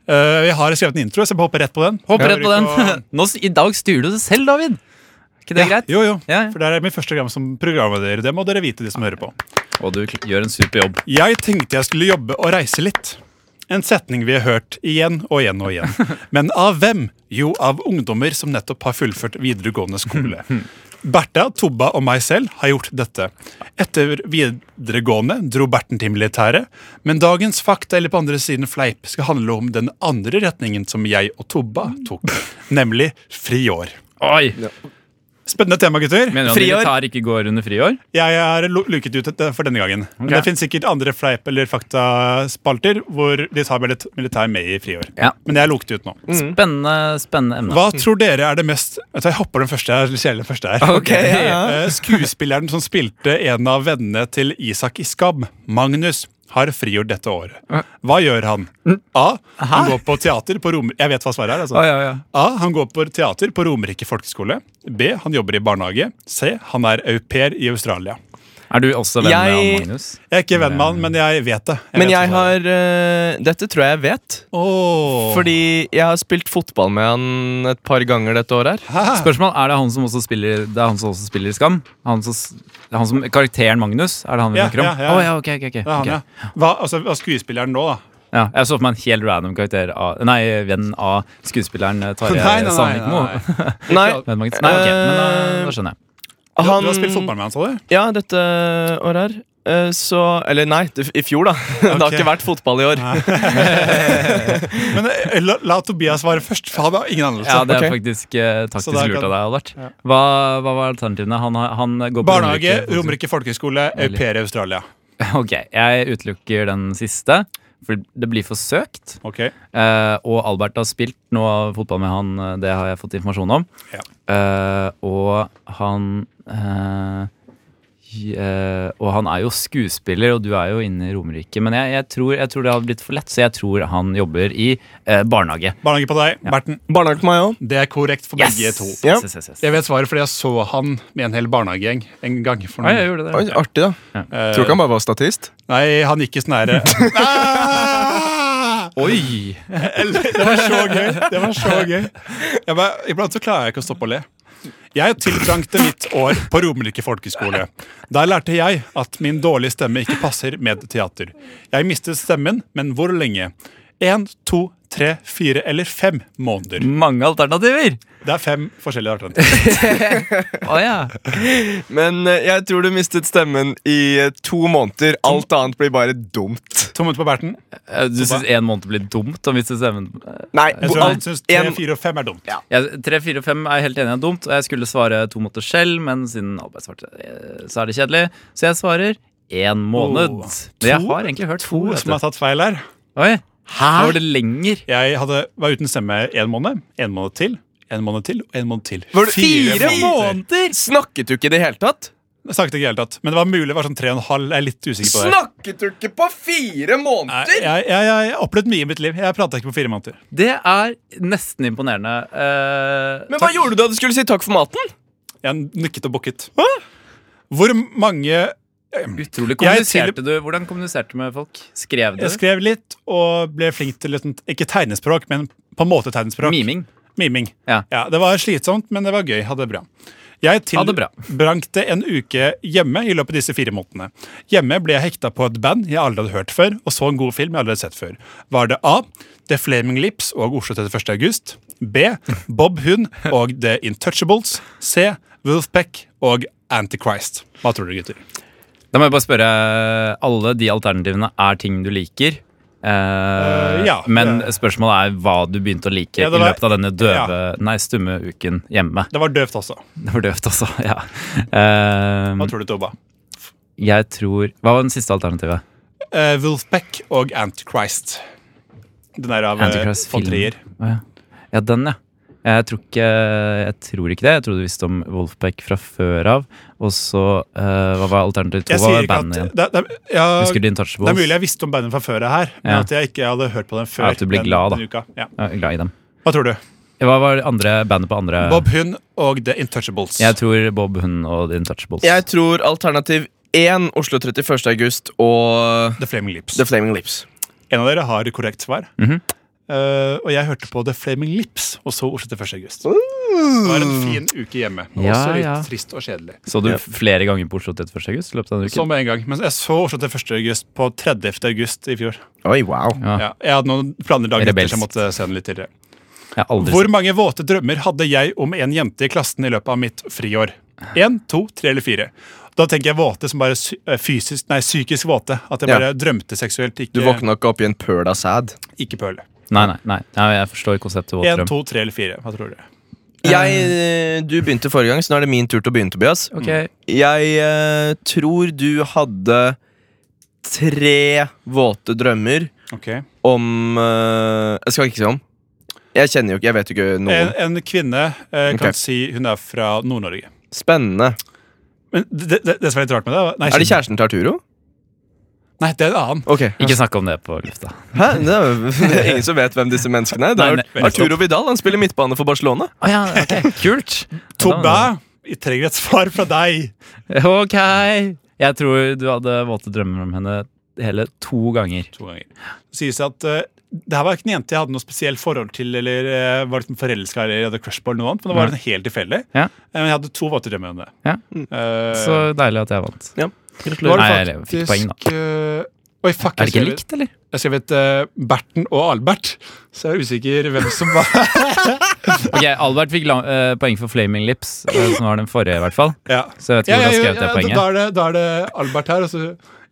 S2: Eh, Jeg har skrevet en intro, så jeg bare hopper rett på den.
S3: Hopp rett
S2: Jeg
S3: på
S2: behøver ikke å-
S3: den. Nå, s- I dag styrer du det selv, David. Er ikke <laughs> det greit?
S2: Jo, jo.
S3: Ja, ja.
S2: For det er mitt første program som programleder. Det må dere vite, de som hører på.
S3: Og du kl- gjør en super jobb.
S2: Jeg tenkte jeg skulle jobbe og reise litt. En setning vi har hørt igjen og igjen og igjen. Men av hvem? Jo, av ungdommer som nettopp har fullført videregående skole. Bertha, Tobba og meg selv har gjort dette. Etter videregående dro Berten til militæret, men dagens fakta eller på andre siden fleip skal handle om den andre retningen som jeg og Tobba tok, nemlig friår.
S3: Oi!
S2: Spennende tema, gutter.
S3: Mener du at
S1: Friår.
S3: militær ikke går under friår?
S2: Jeg er lu- luket ut et- for denne gangen. Men det
S3: Ok.
S2: finnes sikkert andre fleip- eller faktaspalter hvor de tar milit- militær med i friår.
S3: Ja.
S2: Men jeg er luket ut nå.
S3: Spennende, spennende emne.
S2: Mm. Hva tror dere er det mest Vet du, Jeg hopper den første her. litt kjedelig, den første her.
S1: Ok, ja, ja.
S2: <laughs> Eh, Skuespilleren som spilte en av vennene til Isak i Skam, Magnus, har frigjort dette året. Hva gjør han?
S3: Mm.
S2: A. Han går på teater på Romer... Jeg vet hva svaret er. altså.
S3: Oi, oi, oi.
S2: A. Han går på teater på Romerike folkeskole. B. Han jobber i barnehage. C. Han er au pair i Australia.
S3: Er du også venn med
S1: Jeg-
S3: han, Magnus?
S2: Jeg er ikke venn med han, men jeg vet det.
S1: Men
S2: vet hva
S1: jeg
S2: svaret er.
S1: har eh, Dette tror jeg jeg vet.
S2: Åh.
S1: Fordi jeg har spilt fotball med han et par ganger dette året. her
S2: Hæ?
S3: Spørsmål, er det han som også spiller Det er han som også spiller i Skam? Han som, s- det er han som, karakteren Magnus? Er det han vi
S2: Ja,
S3: snakker om?
S2: ja, ja.
S3: Å, ja, ok, ok, ok,
S2: Det er han,
S3: ok. ja.
S2: ja. Hva, altså, hva er skuespilleren nå, da?
S3: Jeg så for meg en helt random karakter av Nei, venn av skuespilleren eh,
S2: <laughs>
S3: Tarjei
S2: Nei, nei, nei,
S3: Sandvikmo.
S2: nei,
S3: <laughs>
S2: Eh,
S1: Nei,
S3: Venn Magnus. Nei, ok, men da, da skjønner jeg.
S2: Du,
S1: han
S2: du har spilt fotball med han, sa du?
S1: Ja, dette året her. eh, Så Eller nei, det- i fjor, da. <laughs> Det har
S2: Ok.
S1: ikke vært fotball i år.
S2: Men eh, la, la Tobias svare først, for han har ingen anelse.
S3: Ja, det er
S1: ok.
S3: faktisk eh, taktisk
S2: da
S3: lurt
S2: kan-
S3: av deg, Albert. Hva, hva var alternativene? Han, har- han går på
S2: Barnehage,
S3: Romerike-
S2: Romerike folkehøgskole, au
S3: Eller-
S2: pair i Australia.
S3: Ok, jeg utelukker den siste, for det blir for søkt.
S2: Ok,
S3: Eh, og Albert har spilt nå fotball med han, eh, det har jeg fått informasjon om.
S2: Ja.
S3: Eh, og han eh, j- eh, Og han er jo skuespiller, og du er jo inne i Romerike, men jeg, jeg, tror, jeg tror det hadde blitt for lett, så jeg tror han jobber i eh, barnehage.
S2: Barnehage på deg, Berten.
S1: <laughs> Barnehage på meg òg.
S2: Det er korrekt for
S3: Yes!
S2: begge to.
S1: Ja.
S3: yes, yes, yes.
S2: Jeg vet svaret fordi jeg så han med en hel barnehagegjeng en gang. For
S3: Ja, jeg
S2: noen.
S3: gjorde det.
S1: Artig, da.
S2: Eh,
S1: ikke han bare var statist.
S2: Nei, han gikk i sånn herre Ah!
S3: Oi!
S2: Det var så gøy. Det var så gøy. Jeg bare, iblant så klarer jeg ikke å stoppe å le. Jeg tilbrangte mitt år på Romerike folkeskole. Der lærte jeg at min dårlige stemme ikke passer med teater. Jeg mistet stemmen, men hvor lenge? Én, to, tre, fire eller fem måneder.
S3: Mange alternativer!
S2: Det er fem forskjellige arter.
S3: Å ja.
S1: Men eh, jeg tror du mistet stemmen i eh, to måneder. Alt annet blir bare dumt.
S2: Tommel på Berten.
S3: Eh, Du syns én måned blir dumt? Om hvis det stemmer?
S1: Nei,
S2: Jeg
S1: bo-
S2: tror han
S1: alt,
S2: syns tre,
S1: en,
S2: fire og fem er dumt.
S3: Jeg, 3, 4 og 5 er jeg helt enig i er dumt, og jeg skulle svare to måneder selv, men siden Albert svarte, eh, så er det kjedelig. Så jeg svarer én måned.
S2: Oh.
S3: Men jeg
S2: To-
S3: har egentlig hørt to.
S2: To
S3: vet
S2: som
S3: du.
S2: har tatt feil her.
S3: Oi, Nå var det lenger.
S2: Jeg hadde, var uten stemme en måned, en måned til, en måned til og en måned til.
S1: Var det
S3: Fire måneder!
S1: snakket du ikke i det hele tatt?
S2: Jeg snakket ikke i det hele tatt. Men det var mulig det var sånn tre og en halv. Jeg er litt usikker på det.
S1: Snakket du ikke på fire
S2: Nei,
S1: måneder?!
S2: Jeg, jeg, jeg har opplevd mye i mitt liv. Jeg prata ikke på fire måneder.
S3: Det er nesten imponerende. Eh,
S1: Men hva gjorde du da du skulle si takk for maten?
S2: Jeg nikket og bukket. Hvor mange
S3: Utrolig
S2: Jeg
S3: kommuniserte du. Hvordan kommuniserte du med folk? Skrev du?
S2: Jeg skrev litt og ble flink til litt, sånn- ikke tegnespråk, men på en måte tegnespråk.
S3: Miming.
S2: Miming.
S3: Ja.
S2: det var slitsomt, men det var gøy. Hadde det bra. Jeg
S3: Ha det bra.
S2: tilbrangte en uke hjemme i løpet av disse fire månedene. Hjemme ble jeg hekta på et band jeg aldri hadde hørt før, og så en god film jeg aldri hadde sett før. Var det A. The Flaming Lips og Oslo 31. august. B. Bob Hund og The Intouchables. C. Wolfpack og Antichrist. Hva tror dere, gutter?
S3: Da må jeg bare spørre. Alle de alternativene er ting du liker. Eh,
S2: Eh, ja.
S3: men spørsmålet er hva du begynte å like
S2: Ja, det
S3: i
S2: var-
S3: løpet av denne døve, nei, stumme uken hjemme. <laughs>
S2: Det var døvt også.
S3: Det var døvt også, ja. Eh,
S2: Hva tror du, Tobba?
S3: jeg tror Hva var den siste alternativet?
S2: Eh, Wolfpack og Antichrist. Den er av eh,
S3: Antichrist
S2: von
S3: film.
S2: Trier.
S3: Å, ja. ja, den, ja. Jeg tror, ikke, jeg tror ikke det. Jeg trodde du visste om Wolfpack fra før av. Og så eh, Hva var alternativ to?
S2: Jeg
S3: Hva
S2: sier
S3: var
S2: ikke
S3: bandet
S2: at
S3: igjen?
S2: det, det, ja,
S3: Husker du
S2: det er
S3: Intouchables?
S2: mulig jeg visste om bandet fra før jeg her, men
S3: Ja.
S2: at jeg ikke hadde hørt på den før.
S3: Ja, at du blir
S2: den-
S3: glad, da.
S2: den uka. Ja.
S3: Jeg er glad i dem.
S2: Hva tror du?
S3: Hva var det andre bandet på andre
S2: Bob Hund og The Intouchables.
S3: Eh. Jeg tror Bob Hund og The Intouchables.
S1: Jeg tror alternativ én Oslo 31. august og
S2: The Flaming Lips.
S1: The Flaming Lips.
S2: En av dere har korrekt svar.
S3: Mhm.
S2: Eh, og jeg hørte på The Flaming Lips, og så Oslo til 1. august. Det var en fin uke hjemme.
S3: Ja,
S2: også litt
S3: ja.
S2: trist og kjedelig.
S3: Så du flere ganger på Oslo 31. august? i løpet av den uken?
S2: Som en gang. Men jeg så Oslo til 1. august på 30. august i fjor.
S1: Oi, wow.
S3: Ja.
S2: Ja, jeg hadde noen planer dagen etter, så jeg
S3: Rebelsk.
S2: måtte se den litt tidligere.
S3: Jeg har aldri
S2: Hvor mange våte drømmer hadde jeg om en jente i klassen i løpet av mitt friår?
S3: sett-
S2: Én, to, tre eller fire. Da tenker jeg våte som bare sy- eh, fysisk, nei, psykisk våte. At jeg
S1: Ja.
S2: bare drømte seksuelt,
S1: Du
S2: ikke,
S1: våkna ikke opp i en pøl av sæd.
S2: ikke pøle.
S3: Nei, nei, nei, nei, jeg forstår konseptet
S2: Én,
S3: våtdrøm.
S2: to, tre eller fire. Hva tror dere?
S1: Jeg, eh, du begynte forrige gang, så nå er det min tur til å begynne, Tobias.
S3: Ok,
S1: Jeg eh, tror du hadde tre våte drømmer
S2: Ok.
S1: om eh, Jeg skal ikke si om. Jeg kjenner jo ikke, jeg vet jo ikke
S2: En,
S1: noen.
S2: en kvinne eh, kan
S1: Ok.
S2: si hun er fra Nord-Norge.
S1: Spennende.
S2: Men det, det, det som er litt rart med det nei,
S1: Er det kjæresten til Arturo?
S2: Nei, det er en annen.
S1: Ok.
S3: Ikke snakk om det på lufta.
S1: Hæ? Det er, <laughs> det er ingen som vet hvem disse menneskene er. Det
S3: Nei,
S1: er
S3: nei,
S1: Arturo Vidal han spiller midtbane for Barcelona.
S3: Å ja, ok, <laughs> kult.
S2: Tobbe, vi trenger et svar fra deg.
S3: Ok. Jeg tror du hadde våte drømmer om henne hele to ganger.
S2: To ganger. Det sies at eh, det her var ikke en jente jeg hadde noe spesielt forhold til eller eh, var liksom forelska eller hadde crush på. eller noe annet, Men det var
S3: Nei.
S2: en helt tilfeldig.
S3: Ja.
S2: Eh, Men jeg hadde to våte drømmer om det.
S3: Ja.
S2: Eh,
S3: Så deilig at jeg vant.
S1: Ja.
S2: nå var
S3: Nei,
S2: det
S3: jeg fikk poeng, da.
S2: faktisk, eh, Oi, fuck,
S3: Er
S2: jeg
S3: det ikke
S2: skrev-
S3: likt, eller?
S2: Jeg skrev et eh, Berten og Albert, så jeg er usikker hvem som var
S3: Ok, Albert fikk la- eh, poeng for Flaming Lips, eh, som var den forrige, i hvert fall.
S2: <laughs> <laughs> ja.
S3: Så jeg vet ikke hvor jeg har skrevet det
S2: da,
S3: poenget.
S2: da, er det, da er det Albert her, og så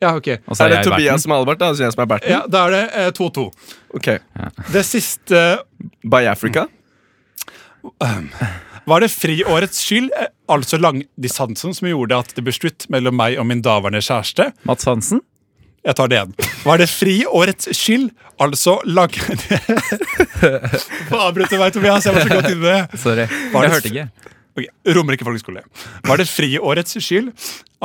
S2: Ja, ok.
S3: Og så
S1: Er det
S3: jeg i
S1: Tobias som er Albert, da? Altså jeg som er Berten?
S2: Ja, da er det eh, 2-2.
S1: Ok.
S2: Det siste
S1: By Africa?
S2: var det friårets skyld, eh, altså langdistansen, som gjorde at det ble slutt mellom meg og min daværende kjæreste.
S3: verten. Mats Hansen?
S2: Jeg tar det igjen. Var det friårets skyld, altså lang... <laughs> Få avbryte meg, Tobias. Jeg var så godt inne i det.
S3: Sorry.
S2: Var
S3: Jeg
S2: det
S3: hørte ikke.
S2: Ok, Romerike folkeskole. Var det friårets skyld,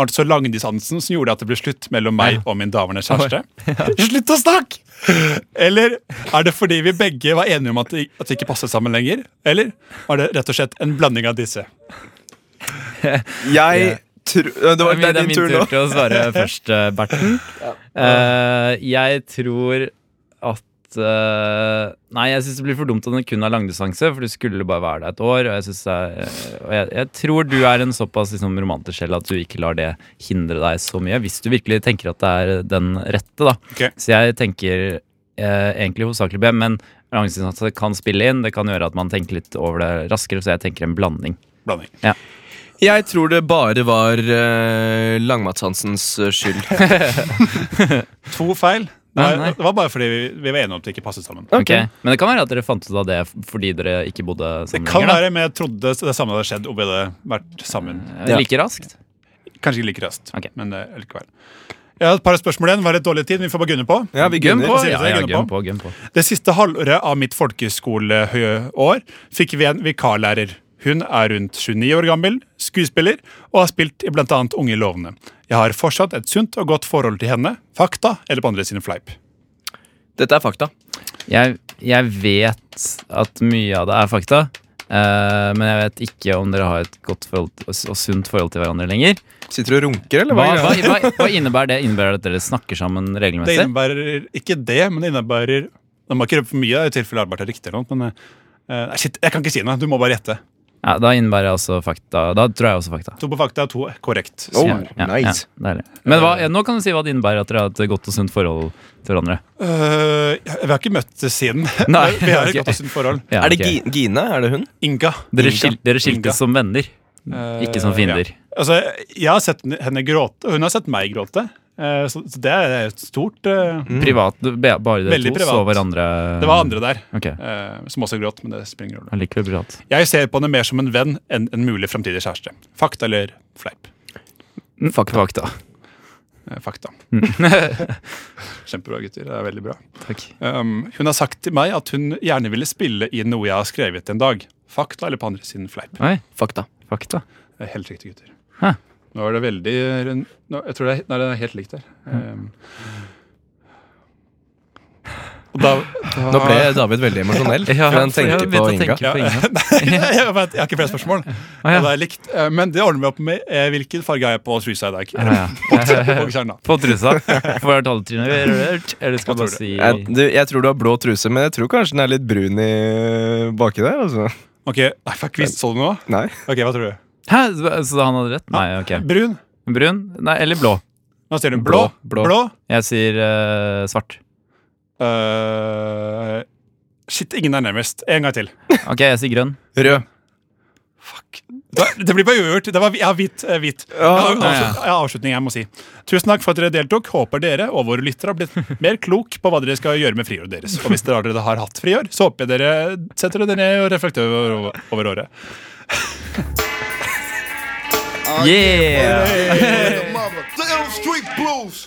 S2: altså langdistansen, som gjorde at det ble slutt mellom meg og min daværende kjæreste? <laughs> Slutt å snakke! Eller er det fordi vi begge var enige om at det, at det ikke passet sammen lenger? Eller var det rett og slett en blanding av disse?
S1: Jeg tror Det var det er
S3: det er
S1: din tur
S3: min
S1: nå.
S3: tur til å svare først, eh, Berten. Eh, jeg tror at eh, Nei, jeg syns det blir for dumt om det kun er langdistanse, for du skulle bare være der et år. Og jeg, synes det er, eh, og jeg, jeg tror du er en såpass liksom, romantisk sjel at du ikke lar det hindre deg så mye, hvis du virkelig tenker at det er den rette, da.
S2: Ok.
S3: Så jeg tenker eh, egentlig hovedsakelig B, men langdistanse kan spille inn. Det kan gjøre at man tenker litt over det raskere, så jeg tenker en blanding.
S2: Blanding.
S1: <laughs> Jeg tror det bare var uh, Langmatshansens eh, skyld.
S3: <laughs>
S2: To feil. Det
S3: Nei,
S2: var,
S3: nei.
S2: det var bare fordi vi, vi var enige om at det ikke passet sammen.
S1: Ok.
S3: Ok. Men det kan være at dere fant ut av det fordi dere ikke bodde
S2: Det
S3: sammen
S2: kan
S3: lenger.
S2: være, men jeg trodde det samme hadde skjedd om vi hadde vært sammen.
S3: da. Eh, Like raskt.
S2: Kanskje ikke like raskt,
S3: Ok.
S2: men eh, likevel. Jeg har et par spørsmål igjen. Var litt dårlig tid, men vi får bare gunne på.
S1: Ja, vi gunner.
S2: på,
S3: Ja,
S2: sier
S3: ja,
S2: jeg, gunner
S3: gønn
S2: på.
S3: på, gønn på.
S2: Det siste halvåret av mitt folkeskoleår fikk vi en vikarlærer. Hun er rundt 29 år gammel, skuespiller og har spilt i bl.a. Unge lovende. Jeg har fortsatt et sunt og godt forhold til henne, fakta eller på andre sine fleip.
S1: Dette er fakta.
S3: Jeg, jeg vet at mye av det er fakta, eh, men jeg vet ikke om dere har et godt forhold til- og, og sunt forhold til hverandre lenger.
S1: Sitter du og runker, eller hva?
S3: Hva,
S1: er
S3: hva,
S1: greia?
S3: hva, hva innebærer det? Innebærer det at dere snakker sammen
S2: Det
S3: regelmessig?
S2: innebærer ikke det, men det innebærer Nå må jeg ikke røpe for mye, i tilfelle Arbeidet er riktig. eller noe, men... eh, nei, shit, jeg kan ikke si noe. Du må bare gjette.
S3: Ja, da innebærer jeg også fakta. Da tror jeg også fakta.
S2: To på fakta, to korrekt.
S1: Oh,
S3: Ja, ja,
S1: nice.
S3: ja, deilig. Men hva, nå kan du si hva det innebærer at dere har et godt og sunt forhold til hverandre.
S2: Eh, vi har ikke møttes siden.
S3: <laughs> Nei,
S2: vi har et
S3: ok.
S2: godt og sunt forhold.
S3: Ja,
S1: Er det
S3: ok.
S1: Gi- Gine? Er det hun?
S2: Inga.
S3: Dere,
S2: Inga.
S3: skil, dere
S2: Inga.
S3: skiltes som venner,
S2: Eh,
S3: ikke som fiender.
S2: ja. Altså, jeg har sett henne gråte, og hun har sett meg gråte. Eh, Så så det er et stort eh,
S3: Privat, du- be- bare dere
S2: Veldig
S3: to
S2: privat.
S3: så hverandre
S2: Det var andre der
S3: Ok,
S2: eh, som også gråt, men det spiller ingen rolle.
S3: allikevel privat
S2: Jeg ser på henne mer som en venn enn en mulig framtidig kjæreste. Fakta eller fleip?
S3: Fakta, Mm. fakta.
S2: Eh, Fakta.
S3: Mm.
S2: <laughs> Kjempebra, gutter. Det er veldig bra.
S3: Takk
S2: Um, hun har sagt til meg at hun gjerne ville spille i noe jeg har skrevet en dag. Fakta eller på andre siden fleip?
S3: Oi,
S1: Fakta.
S3: fakta
S2: Det er Helt riktig, gutter.
S3: Hæ.
S2: Nå er det veldig nå, Jeg tror det er, nei, det er helt likt der. Um, og
S3: <laughs>
S2: da, da
S1: Nå ble David veldig emosjonell.
S3: Ah. Ja,
S1: for han
S3: for jeg
S1: tenkte på
S3: begynte å
S1: Inga.
S3: tenke.
S2: <laughs>
S3: på Inga.
S2: Nei, jeg, vet, jeg har ikke flere
S3: <laughs>
S2: spørsmål.
S3: Å, ja.
S2: Det er likt. Eh, Men det ordner vi opp med. Eh, Hvilken farge har jeg på trusa i dag? <laughs>
S3: Ja, Ah, ja.
S2: Og kjerna.
S3: På trusa Får jeg taletrynet Eller skal
S2: Hva tror
S3: jeg bare
S2: du?
S3: si
S1: Jeg, du, jeg tror du har blå truse, men jeg tror kanskje den er litt brun i baki der. Altså.
S2: Ok, nei, fuck, visst så du noe?
S1: Nei.
S2: Ok, hva tror du?
S3: Hæ, så han hadde rett? Nei, ok
S2: Brun?
S3: Brun? Nei, eller blå
S2: Hva sier du? Blå?
S1: Blå, blå.
S3: Jeg sier eh, svart
S2: Eh, shit, ingen er nærmest. En gang til.
S3: Ok, jeg sier grønn
S1: Rød.
S2: Fuck. Det blir bare uavgjort. Det var hvi- ja, hvitt. eh, hvitt. Jeg
S1: Ja,
S2: har
S3: ja, ja.
S2: avslut- jeg har avslutning jeg må si. Tusen takk for at dere deltok. Håper dere og våre lyttere har blitt mer klok på hva dere skal gjøre med friåret deres. Og hvis dere allerede har hatt friår, så håper jeg dere setter dere ned og reflekterer over, over året.
S3: Yeah!
S4: Damn street blues.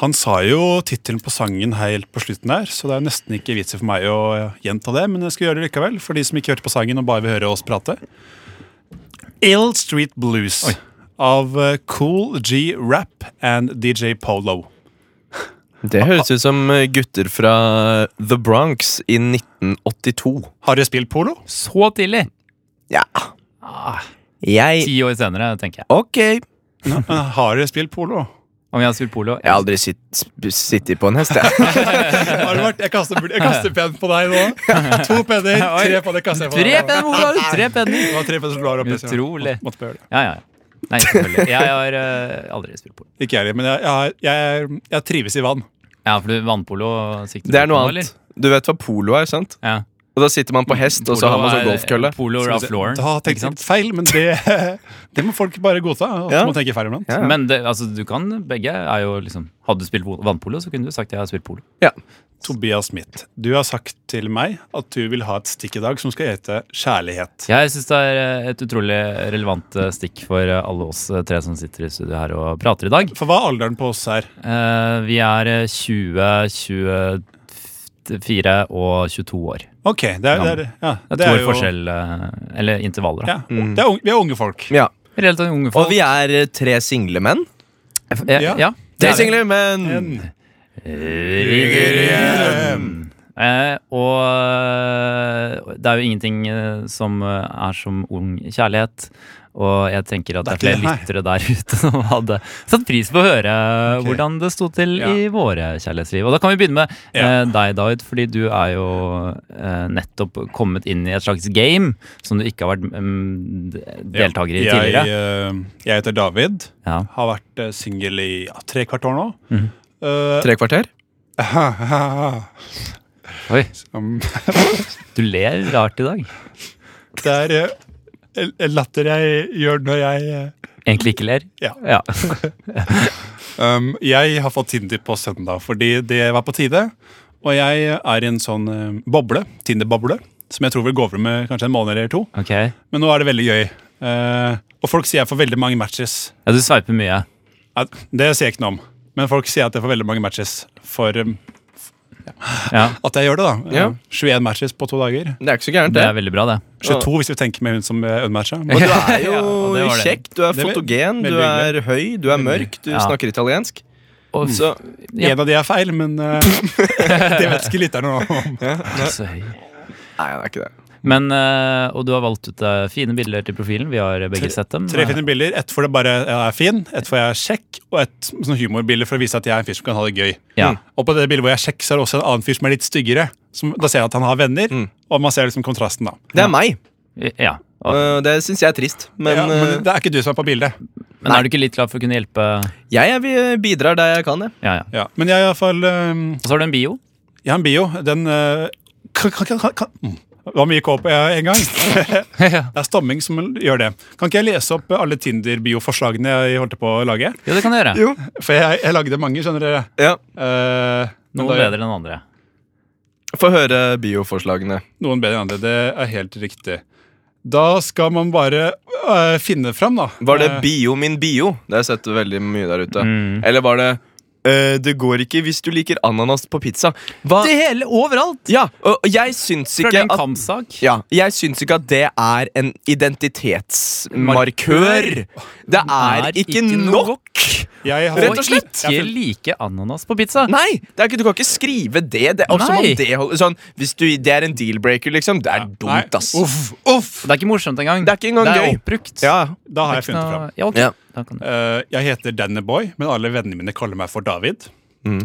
S2: Han sa jo tittelen på sangen helt på slutten der, så det er nesten ikke vits i for meg å eh, gjenta det, men jeg skal gjøre det likevel, for de som ikke hørte på sangen og bare vil høre oss prate. Ill Street Blues av eh, Cool G Rap and DJ Polo.
S1: Det høres ut som eh, gutter fra The Bronx i 1982.
S2: Har dere spilt polo?
S3: Så tidlig!
S1: Ja.
S3: Ah,
S1: Jeg
S3: ti år senere, tenker jeg.
S1: Ok. Jeg
S2: Men har dere spilt polo?
S3: Om jeg hadde spilt polo?
S1: har aldri sitt- sp- sittet på en hest, jeg.
S2: Har det vært? Jeg kaster, jeg kaster penn på deg nå. <laughs> To penner, tre penner kaster jeg på
S3: Tre
S2: deg.
S3: penner! Hvor har du tre penner?
S2: Det var tre penner som lå her oppe. så jeg
S3: Utrolig.
S2: Måtte bare gjøre det.
S3: Ja, ja. ja. Nei, selvfølgelig. Jeg har eh, aldri spilt polo.
S2: Ikke jeg heller, men jeg, jeg, jeg, jeg trives i vann.
S3: Ja, for du vannpolo sikter du
S1: <laughs> Det er
S3: på nå,
S1: noe annet. Du vet hva polo er, sant?
S3: Ja.
S1: Og da sitter man på hest, og så har man
S3: Polo er-
S1: sånn
S3: eh,
S1: golfkølle.
S3: Polo er flooren,
S2: Da
S3: ikke
S2: tenkte
S3: sant?
S2: jeg feil, men det, <laughs> det må folk bare godta. At
S1: Ja.
S2: man tenker feil iblant.
S1: Ja.
S3: Men det, altså, du kan begge. Er jo liksom, hadde du spilt vo- vannpolo, så kunne du sagt jeg har spilt polo.
S1: Ja.
S2: Tobias Smith, du har sagt til meg at du vil ha et stikk i dag som skal hete kjærlighet.
S3: Jeg syns det er eh, et utrolig relevant eh, stikk for eh, alle oss eh, tre som sitter i studio her og prater i dag.
S2: For hva er alderen på oss her?
S3: Eh, Vi er eh, 20, 24 og 22 år.
S2: Ok, det er, det er, ja,
S3: Det er
S2: det
S3: to
S2: er
S3: år
S2: jo-
S3: forskjell, eh, eller intervaller, da.
S2: Ja, det er, unge- vi er unge folk.
S1: Ja.
S3: Relativt unge
S1: Og
S3: folk. Eh,
S1: vi er eh, tre single menn.
S3: ja,
S2: Ja.
S3: ja.
S1: Tre
S3: det er vi.
S1: single menn!
S3: Eh, og eh, det er jo ingenting eh, som eh, er som ung kjærlighet. Og jeg tenker at det
S2: Det er
S3: er flere
S2: ikke
S3: lyttere der ute <laughs> som hadde satt pris på å høre eh,
S2: Ok.
S3: hvordan det sto til
S2: Ja.
S3: i våre kjærlighetsliv. Og da kan vi begynne med
S2: Ja.
S3: eh, deg, David, fordi du er jo eh, nettopp kommet inn i et slags game som du ikke har vært mm, d- deltaker i tidligere.
S2: Jeg, eh, jeg heter David.
S3: Ja.
S2: Har vært eh, singel i ja, tre kvart år nå.
S3: Mhm.
S2: Eh,
S1: Tre kvarter?
S3: Oi,
S2: <laughs> um,
S3: du ler rart i dag.
S2: det er eh, en- en latter jeg gjør når jeg eh,
S3: Egentlig ikke ler.
S2: Ja.
S3: ja. <laughs>
S2: um, Jeg har fått Tinder på søndag fordi det var på tide. Og jeg er i en sånn eh, boble, Tinder-boble, som jeg tror vil gå over med kanskje en måned eller to.
S3: Ok. Ja,
S2: Men nå er det veldig gøy. Eh, og folk sier jeg får veldig mange matches.
S3: du sveiper mye.
S2: Nei, Det sier jeg ikke noe om, men folk sier at jeg får veldig mange matches for um,
S3: Ja.
S2: <laughs> at jeg gjør det, da.
S1: Ja.
S2: Eh, 21 matches på to dager.
S1: Det er ikke så gærent,
S3: Det er
S1: det.
S3: veldig bra, det.
S2: 22 hvis vi tenker med hun som eh, unmatcha.
S3: <laughs>
S1: Og du er
S3: Ja, og det
S1: jo
S3: var det.
S1: kjekk, du er
S2: Det er ve-
S1: fotogen, du
S2: veldig
S1: er høy, du er mørk, du
S3: Ja.
S1: snakker italiensk.
S3: Og
S1: Så
S3: Mm. Ja.
S2: En av de er feil, men eh, <laughs> det vet ikke lytterne noe om.
S3: så høy.
S1: Nei, det er ikke det.
S3: Men, eh, og du har valgt ut eh, fine bilder til profilen. Vi har begge sett dem. Eh,
S2: Tre fine bilder. Ett for det bare jeg er fin, ett for jeg er kjekk, og et sånn humorbilde for å vise at jeg er en fyr som kan ha det gøy.
S3: Ja.
S2: Og på det bildet hvor jeg er kjekk, så er det også en annen fyr som er litt styggere. Som, da ser jeg at han har venner,
S1: Mm.
S2: og man ser liksom kontrasten, da.
S1: Det er meg.
S3: ja. Og,
S1: Eh, Det syns jeg er trist. Men,
S2: ja,
S1: eh,
S2: men det er ikke du som er på bildet.
S3: men er du ikke litt glad for å kunne hjelpe?
S1: jeg er- vi bidrar der jeg kan, jeg.
S3: Ja, ja.
S2: Ja. Men jeg er i hvert fall eh,
S3: Og så har du en bio.
S2: Jeg har en bio. Den eh, kan, kan, kan, kan, mm. Det var mye K på eh, en gang. <laughs> det
S3: <laughs> ja,
S2: er stamming som gjør det. Kan ikke jeg lese opp alle Tinder-bioforslagene jeg holdt på å lage?
S3: det kan du gjøre.
S1: Jo.
S2: For jeg, jeg lagde mange, skjønner dere.
S1: Ja.
S2: Eh, men
S3: Noen
S2: da-
S3: bedre enn andre.
S1: Få høre bioforslagene.
S2: Noen bedre enn andre. Det er helt riktig. Da skal man bare eh, finne fram, da.
S1: Var det
S2: Eh,
S1: bio min bio? Det har jeg sett veldig mye der ute.
S3: Mm.
S1: Eller var det eh, Det går ikke hvis du liker ananas på pizza. Hva?
S3: hele overalt!
S1: Ja, og og jeg syns
S3: Fra
S1: ikke
S3: en
S1: at
S3: kampsak.
S1: ja, jeg syns ikke at det er en identitetsmarkør.
S3: Markør.
S1: Det er, ikke nok.
S2: jeg har,
S1: Rett og slett.
S3: ikke like ananas på pizza.
S1: Nei! Det er ikke, du kan ikke skrive det. det, er som om
S3: Nei.
S1: det, holder- sånn, hvis du, det er en deal-breaker, liksom. Det er
S2: Nei,
S1: dumt, ass.
S2: Uff, uff!
S3: Det er ikke morsomt engang.
S1: Det er ikke engang
S3: det er
S1: gøy.
S3: oppbrukt.
S1: Ja.
S2: Da har jeg funnet fram.
S3: Ja, ok.
S1: Ja.
S3: Da kan du.
S2: Eh, jeg heter Danny Boy, men alle vennene mine kaller meg for David.
S1: Mm.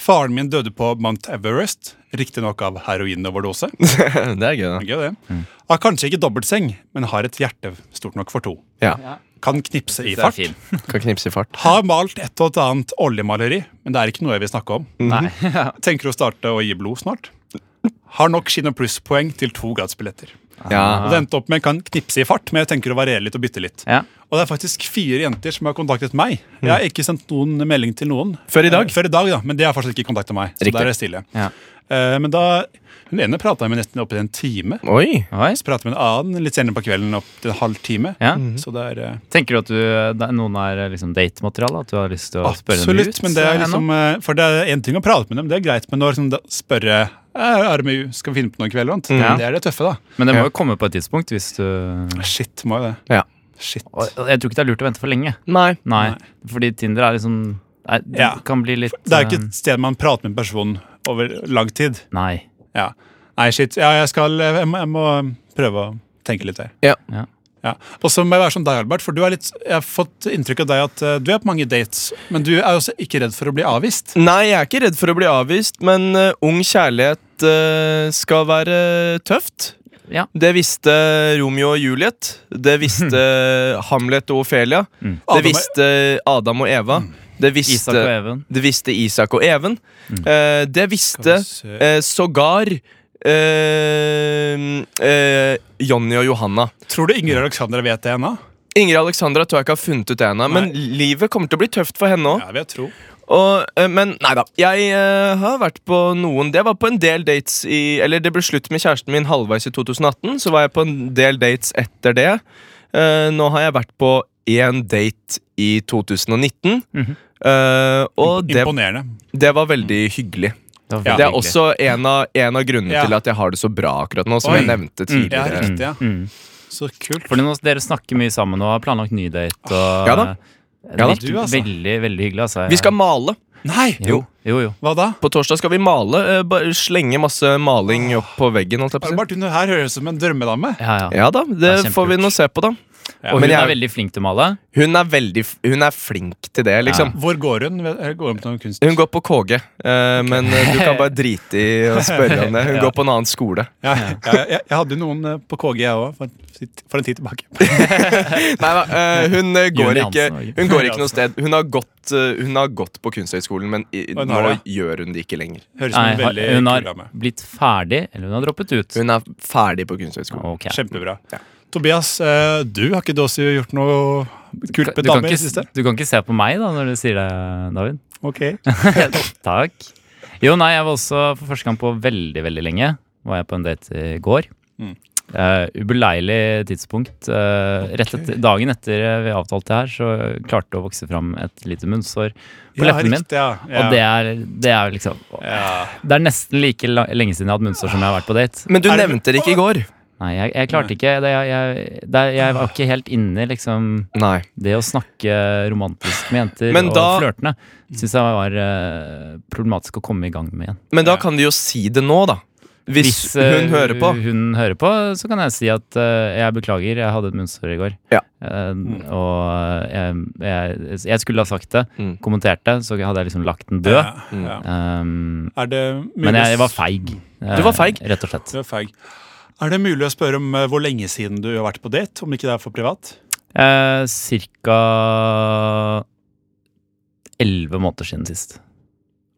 S2: Faren min døde på Mount Everest, riktignok av heroinoverdose.
S1: <laughs> <laughs> det er gøy, da.
S2: Gøy, det.
S1: Mm.
S2: Har kanskje ikke dobbeltseng, men har et hjerte stort nok for to.
S1: Ja.
S2: Kan knipse i
S3: Det er
S2: fart.
S3: fin.
S1: Kan knipse i fart.
S2: Har malt et og et annet oljemaleri, men det er ikke noe jeg vil snakke om.
S3: Nei.
S2: Tenker å starte å gi blod snart. Har nok Kino Pluss-poeng til to gradsbilletter.
S1: Ja.
S2: Og det endte opp med kan knipse i fart, men jeg tenker å variere litt og bytte litt.
S3: <laughs> Ja.
S2: Og det er faktisk fire jenter som har kontaktet meg. Jeg har ikke sendt noen melding til noen.
S1: Mm. Før i dag?
S2: Eh, Før i dag, ja, Men de har fortsatt ikke kontaktet meg. Så
S1: Riktig.
S2: der er jeg stille.
S3: Ja.
S2: Eh, men da, Hun ene prata jeg med nesten opptil en time.
S1: Oi.
S3: Oi.
S2: Så pratet jeg med en annen litt senere på kvelden opptil en halv time.
S3: Ja.
S2: Så det er eh,
S3: Tenker du at du, det er- noen er liksom datemateriale? At du har lyst til å spørre dem ut?
S2: Absolutt, men det er
S3: eh,
S2: liksom eh, For det er én ting å prate med dem, det er greit, men å liksom da spørre «Eh, Er det mye, skal vi finne på noe i kveld? eller annet?»
S3: Mm. Ja.
S2: Det er det tøffe, da.
S3: nå? Men det må
S1: Ja.
S3: jo komme på et tidspunkt hvis du og
S2: Shit, må jo det.
S1: Ja.
S2: Shit.
S3: og Jeg tror ikke det er lurt å vente for lenge.
S1: Nei.
S3: Nei, fordi Tinder er liksom Nei, det
S2: Ja.
S3: kan bli litt
S2: Det er jo ikke
S3: eh,
S2: et sted man prater med en person over lang tid.
S3: Nei.
S2: Ja. Nei, shit. Ja, jeg skal eh, jeg må, jeg må prøve å tenke litt der.
S1: Ja.
S3: Ja.
S2: Ja. Og så må jeg være som deg, Albert, for du er litt, jeg har fått inntrykk av deg at eh, du er på mange dates, men du er også ikke redd for å bli avvist.
S1: Nei, jeg er ikke redd for å bli avvist, men eh, ung kjærlighet eh, skal være tøft.
S3: Ja.
S1: Det visste Romeo og Juliet. Det visste <laughs> Hamlet og Ofelia. Det
S2: Adam er-
S1: visste Adam og Eva. Det visste
S3: Isak og Even.
S1: Det visste Isak og Even. Eh, det visste
S2: Skal vi se.
S1: eh, sågar eh, eh, Jonny og Johanna.
S2: Tror du Ingrid Alexandra vet det ennå?
S1: Ingrid Alexandra tror jeg ikke har funnet ut det ennå, men livet kommer til å bli tøft for henne òg.
S2: Ja, vil jeg tro.
S1: men nei da. Jeg eh, har vært på noen Det var på en del dates i Eller det ble slutt med kjæresten min halvveis i 2018, så var jeg på en del dates etter det. Eh, nå har jeg vært på én date i 2019,
S3: Mhm.
S1: eh, og det,
S2: Imponerende.
S1: det var veldig hyggelig.
S3: Det, var
S2: Ja.
S1: Det
S3: veldig
S1: er også en av, en av grunnene
S2: Ja.
S1: til at jeg har det så bra akkurat nå, som
S2: Oi. Mm.
S1: jeg nevnte
S2: Ja,
S1: tidligere.
S2: riktig, ja.
S3: hyggelig. Mm.
S2: Så kult.
S3: Fordi nå, dere snakker mye sammen og har planlagt ny date. Og,
S1: Ja da.
S3: Det
S1: Ja da.
S3: virker
S2: Du, altså.
S3: Veldig, veldig hyggelig. Altså.
S1: Vi skal male.
S2: Nei!
S3: Jo, jo. jo.
S2: Hva da?
S1: På torsdag skal vi male. eh, bare slenge masse maling opp på veggen. Holdt jeg på å si.
S2: Albert, hun her høres ut som en drømmedame.
S3: Ja, ja.
S1: Ja da, det
S3: Det er
S1: får vi nå se på, da.
S2: Ja.
S3: Og hun
S1: Men jeg-
S3: er veldig flink til å male.
S1: Hun er veldig f- Hun er flink til det, liksom.
S2: Hvor går hun? Eller Går hun på noen kunst?
S1: Hun går på KG, eh, men eh, du kan bare drite i å spørre om det. Hun går på en annen skole.
S2: Ja, ja, ja, jeg, jeg hadde jo noen eh, på KG, jeg òg, for, for en tid tilbake.
S1: Nei da, eh, hun eh, går
S3: Juni
S1: ikke
S3: Hansen,
S1: Hun går ikke noe sted. Hun har gått, eh, hun har gått på Kunsthøgskolen, men i,
S2: Hun har
S1: nå
S2: det.
S1: gjør hun det ikke lenger.
S2: Høres ut som
S3: Nei,
S2: en
S3: har-
S2: veldig
S3: hun
S2: kul
S3: har
S2: dame.
S3: blitt ferdig, eller hun har droppet ut.
S1: Hun er ferdig på Kunsthøgskolen.
S3: Ok.
S2: Kjempebra.
S1: Ja.
S2: Tobias, eh, du har ikke du også gjort noe kult med
S3: du, kan
S2: damer i det
S3: ikke,
S2: siste?
S3: du kan ikke se på meg da når du sier det, David. <laughs>
S2: Ok.
S3: Takk. Jo, nei, jeg var også for første gang på veldig, veldig lenge. Var jeg på en date i går.
S2: Mm.
S3: Eh, ubeleilig tidspunkt. Eh, rett etter, dagen etter vi avtalte det her, så klarte det å vokse fram et lite munnsår på
S2: Ja,
S3: leppen min.
S2: riktig, ja. ja.
S3: Og det er, det er liksom
S2: Ja.
S3: Det er nesten like la- lenge siden jeg har hatt munnsår som jeg har vært på date.
S1: Men du
S2: Er det-
S1: nevnte det ikke i går.
S3: Nei, jeg, jeg klarte ikke det, jeg, jeg, det, jeg var ikke helt inne, liksom
S1: Nei.
S3: Det å snakke romantisk med jenter
S1: Men
S3: og
S1: da-
S3: flørtende syns jeg var eh, problematisk å komme i gang med igjen.
S1: Men da
S2: Ja.
S1: kan de jo si det nå, da. Hvis,
S3: eh,
S1: hun hører på.
S3: hun hører på, så kan jeg si at eh, jeg beklager, jeg hadde et munnsår i går.
S1: Ja.
S3: Eh,
S2: Mm.
S3: og eh, jeg, jeg, jeg skulle ha sagt det,
S1: Mm.
S3: kommentert det, så hadde jeg liksom lagt den død.
S2: Ja, ja.
S3: Um,
S2: Er det mulig å
S3: men jeg,
S2: s-
S3: jeg var feig. eh,
S1: Du var feig?
S3: Rett og slett.
S2: Du er feig. Er det mulig å spørre om eh, hvor lenge siden du har vært på date? Om ikke det er for privat?
S3: Eh, cirka elleve måneder siden sist.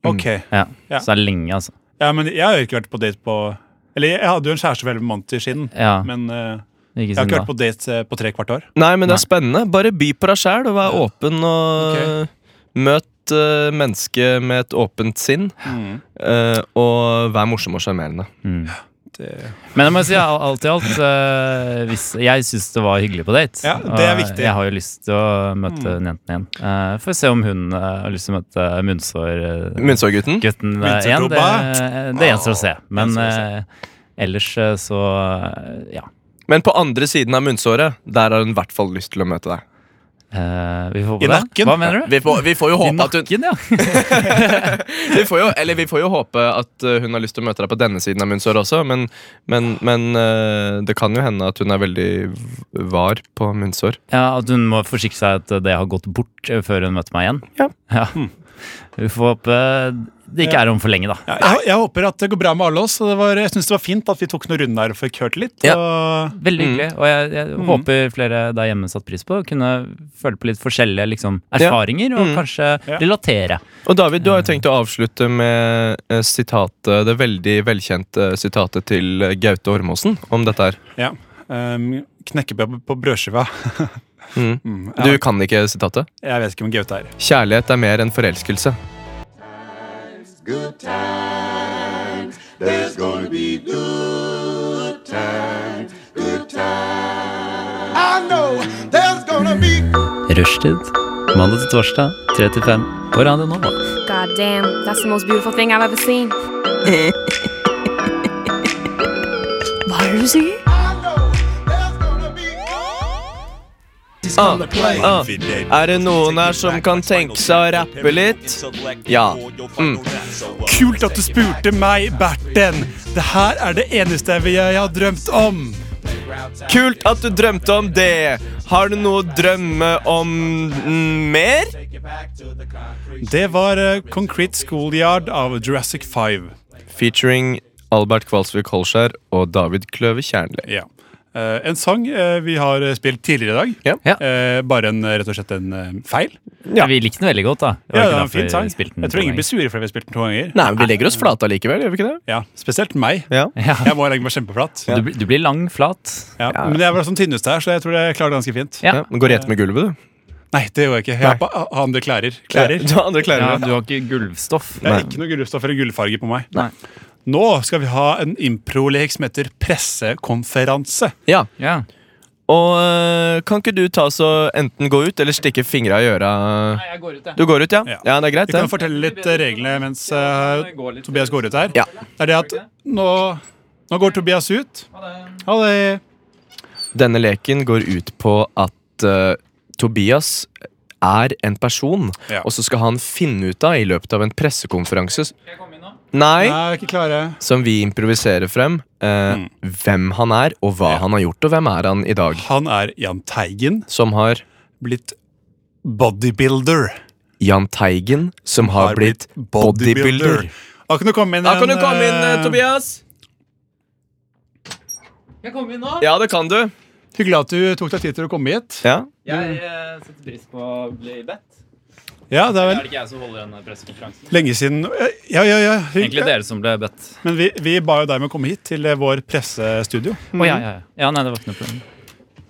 S3: Mm.
S2: Ok.
S3: Ja.
S2: Ja.
S3: Så det er lenge, altså.
S2: Ja, men jeg har jo ikke vært på date på Eller jeg hadde jo en kjæreste for elleve måneder siden,
S3: Ja,
S2: men eh,
S3: ikke
S2: jeg har
S3: siden
S2: ikke
S3: da.
S2: vært på date eh, på tre kvart år.
S1: Nei, men
S3: Nei.
S1: det er spennende. Bare by på deg sjæl og vær åpen og
S2: Ok.
S1: Møt eh, mennesket med et åpent sinn, eh, og vær morsom og sjarmerende.
S3: Mm.
S2: Det,
S3: Men jeg må si al- alt i alt eh, hvis, Jeg syns det var hyggelig på date.
S2: Ja, det er
S3: Og
S2: viktig. Mm.
S3: Jeg har jo lyst til å møte den jenten igjen. Uh, Får se om hun eh, har lyst til å møte munnsårgutten
S1: Munnsårgutten.
S3: uh, igjen. Det,
S2: Munnsårklubba.
S3: det gjenstår å se. Men
S2: Gjenstår
S3: eh, ellers eh, så eh, ja.
S1: Men på andre siden av munnsåret, der har hun i hvert fall lyst til å møte deg.
S3: Eh, vi får håpe
S2: I
S3: det.
S2: nakken.
S3: Hva mener du?
S1: Vi får, vi får jo
S3: I
S1: håpe at hun
S3: nakken, ja.
S1: vi får jo, Eller vi får jo håpe at eh, hun har lyst til å møte deg på denne siden av munnsåret også, men, men, men eh, det kan jo hende at hun er veldig v- var på munnsår.
S3: ja. At hun må forsikre seg at det har gått bort eh, før hun møter meg igjen.
S1: Ja.
S3: Vi får håpe det ikke er om for lenge, da.
S2: Mm. Ja, jeg, jeg håper at det går bra med alle oss. og Det var, jeg syns det var fint at vi tok noen runder her og fikk hørt litt.
S1: Ja.
S2: Og
S3: Veldig hyggelig. Og jeg, jeg
S2: Mm.
S3: håper flere der hjemme satte pris på å kunne føle på litt forskjellige liksom, erfaringer, og
S1: Mm.
S3: kanskje
S2: Ja.
S3: relatere.
S1: Og David, du har jo tenkt å avslutte med eh, sitatet, det veldig velkjente sitatet til eh, Gaute Ormåsen om dette her.
S2: ja, ehm, knekkebrød på brødskiva.
S1: Mm.
S2: Mm,
S1: Du
S2: ja,
S1: kan ikke sitatet.
S2: jeg vet ikke om Gaute er
S1: Kjærlighet er mer enn forelskelse.
S4: Good times. There's gonna be good times. Good times. I know there's gonna be
S3: Rushtid mandag til torsdag 3 til 5 på Radio Nova.
S5: God damn, that's the most beautiful thing I've ever seen. Hva er det du sier?
S1: Ah, ah. Er det noen her som kan tenke seg å rappe litt? Ja. Mm.
S2: Kult at du spurte meg, Berten. Det her er det eneste jeg, jeg har drømt om.
S1: Kult at du drømte om det. Har du noe å drømme om mm, mer?
S2: Det var eh, Concrete Schoolyard av Jurassic 5.
S1: Featuring Albert Kvalsvik Holskjær og David Kløve Kjernli.
S2: Ja. Eh, en sang eh, vi har eh, spilt tidligere i dag.
S1: Ja.
S3: Ja.
S2: Eh, bare en, eh, rett og slett en eh, feil.
S1: Ja.
S3: Vi likte den veldig godt, da.
S2: Ja, det
S3: var ikke
S2: var en
S3: derfor
S2: fin sang.
S3: vi spilte den
S2: Jeg tror
S3: to
S2: ingen blir
S3: ganger.
S2: sure for at vi har spilt den to ganger.
S1: Nei, men Vi legger oss flate allikevel, gjør vi ikke det?
S2: Ja, Spesielt
S3: <laughs>
S2: meg.
S1: Ja.
S2: Jeg må legge meg kjempeflat.
S3: Du, blir- du blir lang, flat.
S2: Ja. Men jeg var sånn tynneste her, så jeg tror jeg klarer det ganske fint.
S1: Ja. Gå rett med gulvet, du.
S2: Nei, det gjør jeg ikke. Jeg har på har andre klærer. <laughs> Klærer.
S1: Ja, andre klarer
S3: Ja,
S1: det.
S3: du har ikke gulvstoff.
S2: Jeg har ikke noe gullstoff eller gullfarge på meg.
S3: Nei.
S2: Nå skal vi ha en improlek som heter pressekonferanse.
S1: Ja.
S3: Ja.
S1: Og øh, kan ikke du ta så enten gå ut eller stikke fingra i øra?
S3: Jeg går ut,
S1: Du går ut, ja?
S2: Ja.
S1: Ja, det er greit,
S2: Vi kan
S1: det.
S2: fortelle litt eh, reglene mens eh, Tobias går ut her.
S1: Ja.
S2: Det er det at nå, nå går Tobias ut. Ha det.
S1: Denne leken går ut på at øh, Tobias er en person,
S2: Ja.
S1: og så skal han finne ut av i løpet av en pressekonferanse Nei,
S2: Nei, vi er ikke klare.
S1: som vi improviserer frem, øh, hvem han er, og hva
S2: Ja.
S1: han har gjort, og hvem er han i dag?
S2: Han er Jahn Teigen,
S1: Som har
S2: blitt bodybuilder.
S1: Jahn Teigen, som har, blitt bodybuilder.
S2: Da kan du komme inn.
S1: Da kan du
S2: en,
S1: komme inn,
S2: eh,
S1: eh, Tobias.
S3: Jeg kommer inn nå.
S1: Ja, det kan du.
S2: Hyggelig at du tok deg tid til å komme hit.
S1: Ja.
S3: Jeg eh, setter pris på å bli bedt.
S2: Ja, det er vel
S3: ikke jeg som holder denne pressekonferansen.
S2: lenge siden Ja, ja, ja.
S3: Egentlig
S2: hyggelig.
S3: dere som ble bedt.
S2: Men vi, vi ba jo deg med å komme hit, til eh, vår pressestudio.
S3: Å, ja, ja, ja. ja, nei, det var ikke noe problem.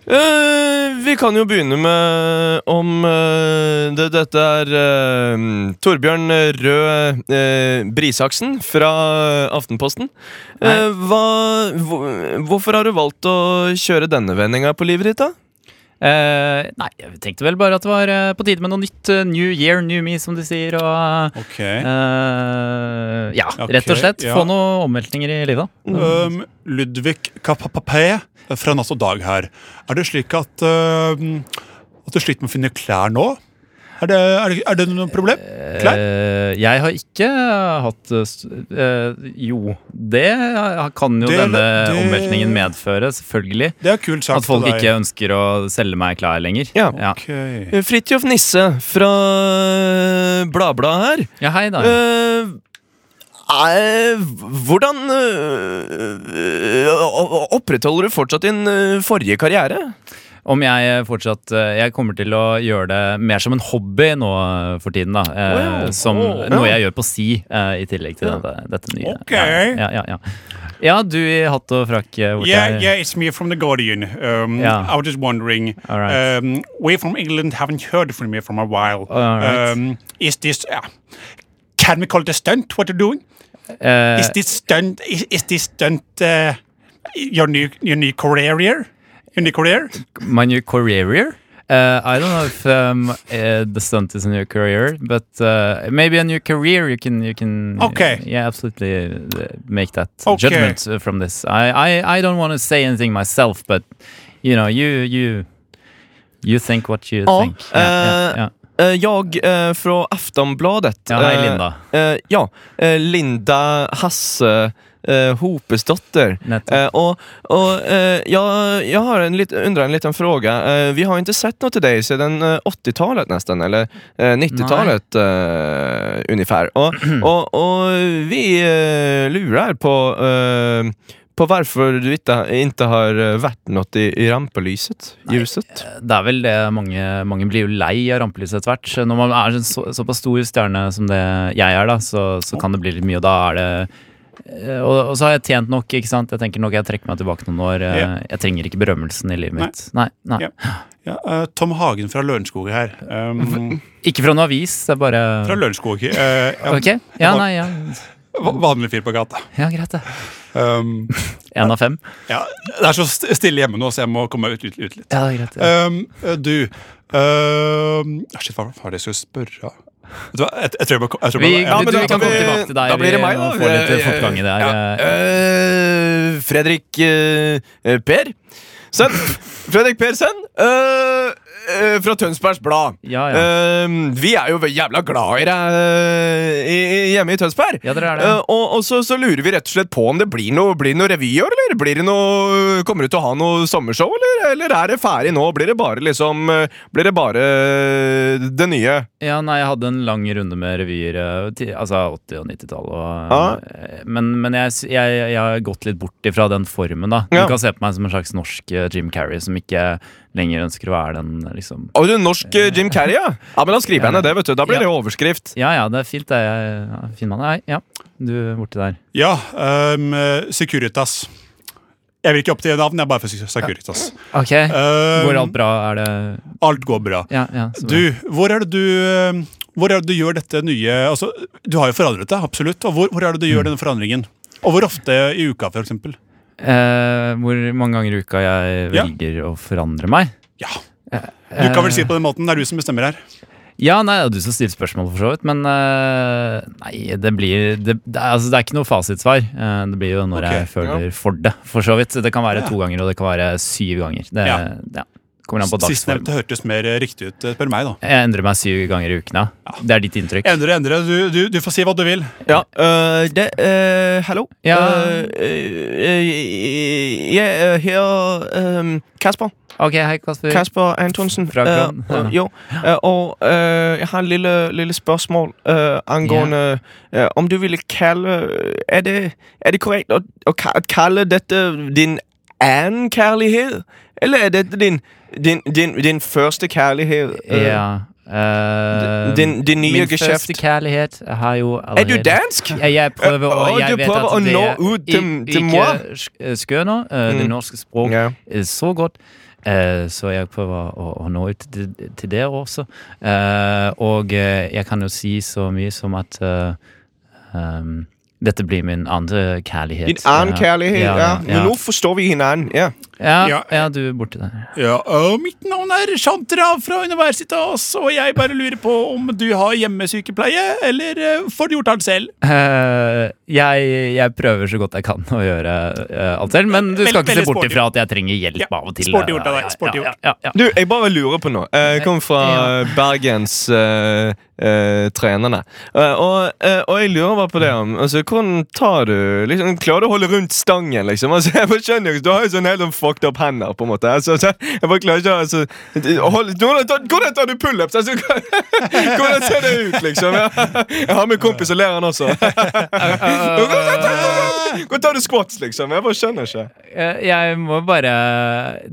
S1: Eh, vi kan jo begynne med om eh, det, Dette er eh, Torbjørn Røe eh, Brisaksen fra Aftenposten. Eh,
S3: Hei.
S1: hva, hvor- hvorfor har du valgt å kjøre denne vendinga på livet ditt, da?
S3: Eh, nei, jeg tenkte vel bare at det var eh, på tide med noe nytt. eh, new year, new me, som de sier. Og
S2: Ok.
S3: eh, ja,
S2: Ok,
S3: rett og slett.
S2: ja.
S3: Få noen omveltninger i livet.
S2: Um, Ludvig Kapapapé fra Natt og Dag her. Er det slik at, um, at du sliter med å finne klær nå? Er det, er det, er det noe problem? Klær?
S3: Eh, jeg har ikke hatt eh, s- eh, Jo, det kan jo
S2: Det-
S3: denne
S2: det-
S3: omveltningen medføre, selvfølgelig.
S2: Det er kult sagt
S3: At folk
S2: av deg.
S3: ikke ønsker å selge meg klær lenger.
S1: Ja.
S3: Ja,
S2: Ok.
S1: Eh, Fridtjof Nisse fra Bladbladet her.
S3: ja hei da.
S1: Eh, eh, hvordan eh, eh, opprettholder du fortsatt din eh, forrige karriere?
S3: Om jeg fortsatt eh, Jeg kommer til å gjøre det mer som en hobby nå eh, for tiden. da eh,
S1: Wow.
S3: Som
S1: Oh.
S3: noe jeg gjør på si, eh, i tillegg til dette, dette nye.
S2: Ok.
S3: Ja, ja, ja, ja. ja, du i hatt og frakk eh, hvor
S2: Yeah,
S3: jeg-
S2: yeah, it's me from The Guardian. Um,
S3: Yeah.
S2: I was just wondering.
S3: All right.
S2: Um, we from England haven't heard from you for a while.
S3: All right.
S2: um, is this... Uh, can we call it a stunt, what you're doing?
S3: Eh,
S2: Is this stunt? Is, is this stunt uh, your new your new career? Your new career?
S3: my new career. Uh, I don't know if um, uh, the stunt is a new career, but uh, maybe a new career. You can, you can,
S2: Okay.
S3: yeah, absolutely uh, make that
S2: Okay.
S3: judgment uh, from this. I, I, I don't want to say anything myself, but you know, you, you, you think what you
S2: Oh,
S1: Ja,
S3: think. Yeah, yeah,
S2: uh,
S1: eh,
S3: yeah.
S1: Eh, Jag eh, från Aftonbladet.
S3: Ja, hej
S1: Eh,
S3: Linda.
S1: eh, ja, eh, Linda Hasse eh, Hopesdotter.
S3: Nettopp.
S1: Eh, och och eh, jag, jag har en lit, undrar en liten fråga. Eh, vi har inte sett något till dig sedan eh, 80-talet nästan, eller eh, 90-talet eh, ungefär. Och, och, och vi eh, lurar på, eh, på varför du inte, inte har eh, varit något i, i rampelyset, ljuset.
S3: Det er vel det mange, mange blir jo lei av rampelyset etter hvert. Når man er en så, såpass stor stjerne som det jeg er, da, så, så kan det bli litt mye, og da er det eh, og, og så har jeg tjent nok, ikke sant. Jeg tenker nok jeg trekker meg tilbake noen år. eh,
S2: Ja.
S3: Jeg trenger ikke berømmelsen i livet
S2: Nei.
S3: mitt. Nei, nei.
S2: Ja. Ja, eh, Tom Hagen fra Lørenskog er her. Um,
S3: Ikke fra noen avis, det er bare
S2: fra Lørenskog. eh, ja,
S3: Ok? Ja, nei, ja.
S2: va- Vanlig fyr på gata.
S3: ja greit, det.
S2: Um,
S3: Én av fem.
S2: ja, det er så st- stille hjemme nå, så jeg må komme meg ut, ut, ut litt.
S3: Ja, det er greit. Ja.
S2: Um, eh, du um, ah, Shit, hva var det jeg skulle spørre om? Vet du hva, jeg, jeg tror jeg må jeg tror
S3: Vi,
S2: jeg- ja,
S3: du,
S2: men
S3: du,
S2: da-
S3: vi kan
S2: da-
S3: komme tilbake til deg.
S1: da blir det
S3: vi
S1: meg,
S3: må
S1: da.
S3: Få litt
S1: Eh,
S3: fortgang i det her. eh.
S1: Eh, Fredrik eh, Per Sen. Fredrik Persen eh, eh, fra Tønsbergs Blad.
S3: Ja, ja.
S1: Eh, vi er jo jævla glad i deg eh, i- i- hjemme i Tønsberg.
S3: Ja, dere er det.
S1: Eh, og og så, så lurer vi rett og slett på om det blir noe, blir det noe revy i år, eller? Blir det noe, kommer du til å ha noe sommershow, eller? Eller er det ferdig nå? Blir det bare liksom eh, Blir det bare eh, det nye?
S3: Ja, nei, jeg hadde en lang runde med revyer, eh, ti- altså 80- og 90-tall. og,
S1: Ja.
S3: eh, Men, men jeg, s- jeg, jeg har gått litt bort ifra den formen, da.
S1: Ja.
S3: Du kan se på meg som en slags norsk eh, Jim Carrey som ikke lenger ønsker å være den, liksom.
S1: Å, du, norsk eh, Jim Carrey, ja? Ja, men da skriver jeg ned det, vet du. Da blir
S3: Ja.
S1: det overskrift.
S3: Ja ja, det er fint, det. Jeg, ja, fin mann. Nei, ja, du borti der.
S2: Ja, um, eh, Securitas. Jeg vil ikke oppgi navn, jeg er bare for Securitas.
S3: Ok,
S2: Um,
S3: Går Eh, alt bra? Er det
S2: Alt går bra.
S3: Ja, ja. så bra.
S2: Du, hvor er det du eh, Hvor er det du gjør dette nye altså, Du har jo forandret deg, absolutt. Og hvor, hvor er det du
S3: Mm.
S2: gjør denne forandringen? Og hvor ofte i uka, for eksempel?
S3: Eh, hvor mange ganger i uka jeg
S2: Ja.
S3: velger å forandre meg?
S2: Ja.
S3: Eh,
S2: Du kan vel si det på den måten. Det er du som bestemmer her.
S3: Ja, nei, det er du som stiller spørsmålet for så vidt, men eh, nei, det blir det, det, er, altså, det er ikke noe fasitsvar. Eh, det blir jo når
S2: Ok,
S3: jeg føler for det, for så vidt. Det kan være
S2: Ja.
S3: to ganger, og det kan være syv ganger. Det ja.
S2: Ja.
S3: kommer an på dagsform.
S2: Sistnevnte hørtes mer eh, riktig ut, eh, spør meg, da.
S3: Jeg endrer meg syv ganger i uken, ja. Det er ditt inntrykk.
S2: Endre, endre. Du, du, du får si hva du vil.
S1: Ja, øh, det øh, Hallo?
S3: Ja.
S1: Øh, øh, jeg er eh, her øhm, Kasper.
S3: Ok, hei, Kasper.
S1: Kasper Antonsen.
S3: Fra Kran,
S1: Øh,
S3: ja.
S1: øh, jo. Øh, og øh, jeg har en lille, lille spørsmål øh, angående øh, om du ville kalde Er det, er det korrekt at, at ka- at kalde dette din anden kærlighed? Eller er dette din, din, din, din første kærlighed? Øh,
S3: Ja. eh,
S1: din- din nye
S3: min
S1: geskjeft.
S3: første kærlighet har jo
S1: Er
S3: allerede
S1: du dansk? <laughs>
S3: Ja, jeg prøver å,
S1: Å,
S3: jeg
S1: du
S3: vet
S1: prøver
S3: at
S1: å
S3: det
S1: nå
S3: er
S1: ut til-
S3: i-
S1: til moi?
S3: Ikke sk- skjønner eh, det
S1: Mm.
S3: norske språk
S1: Ja.
S3: eh, så godt. Eh, Så jeg prøver å, å nå ut til, til dere også. Eh, Og eh, jeg kan jo si så mye som at eh, ehm, dette blir min andre kærlighet.
S1: Din anden kærlighed, ja. Men
S3: ja.
S1: nu forstår vi hinanden, ja.
S3: Ja,
S2: Ja.
S3: ja, du er borti der.
S2: Ja, øh, Mitt navn er Chantra fra Universitas, og jeg bare lurer på om du har hjemmesykepleie, eller eh, får du gjort alt selv?
S3: Eh, jeg, jeg prøver så godt jeg kan å gjøre eh, alt selv, men du
S2: Vel-
S3: skal ikke se
S2: veldig
S3: bort
S2: sporty.
S3: ifra at jeg trenger hjelp
S2: Ja,
S3: av og til. eh,
S2: sporty gjort av deg,
S3: Ja,
S2: sporty
S3: ja,
S2: gjort.
S3: ja, ja, ja.
S1: Du, jeg bare lurer på noe. Eh, Jeg kom fra eh, Bergens eh, eh, trenerne. Eh, og, eh, og jeg lurer bare på det om altså, Hvordan tar du liksom, Klarer du å holde rundt stangen, liksom? Altså, jeg bare skjønner ikke, Du har jo sånn helt sånn fucked up hender, på en måte. Altså, så jeg bare klarer ikke å altså, å holde- hvordan, tar- hvordan tar du pullups? Altså, hvordan ser det ut, liksom? Jeg, jeg har med en kompis, og ler han også.
S2: Eh,
S1: Hvordan tar- Hvordan tar du squats, liksom? Jeg bare skjønner ikke.
S3: Eh, Jeg må bare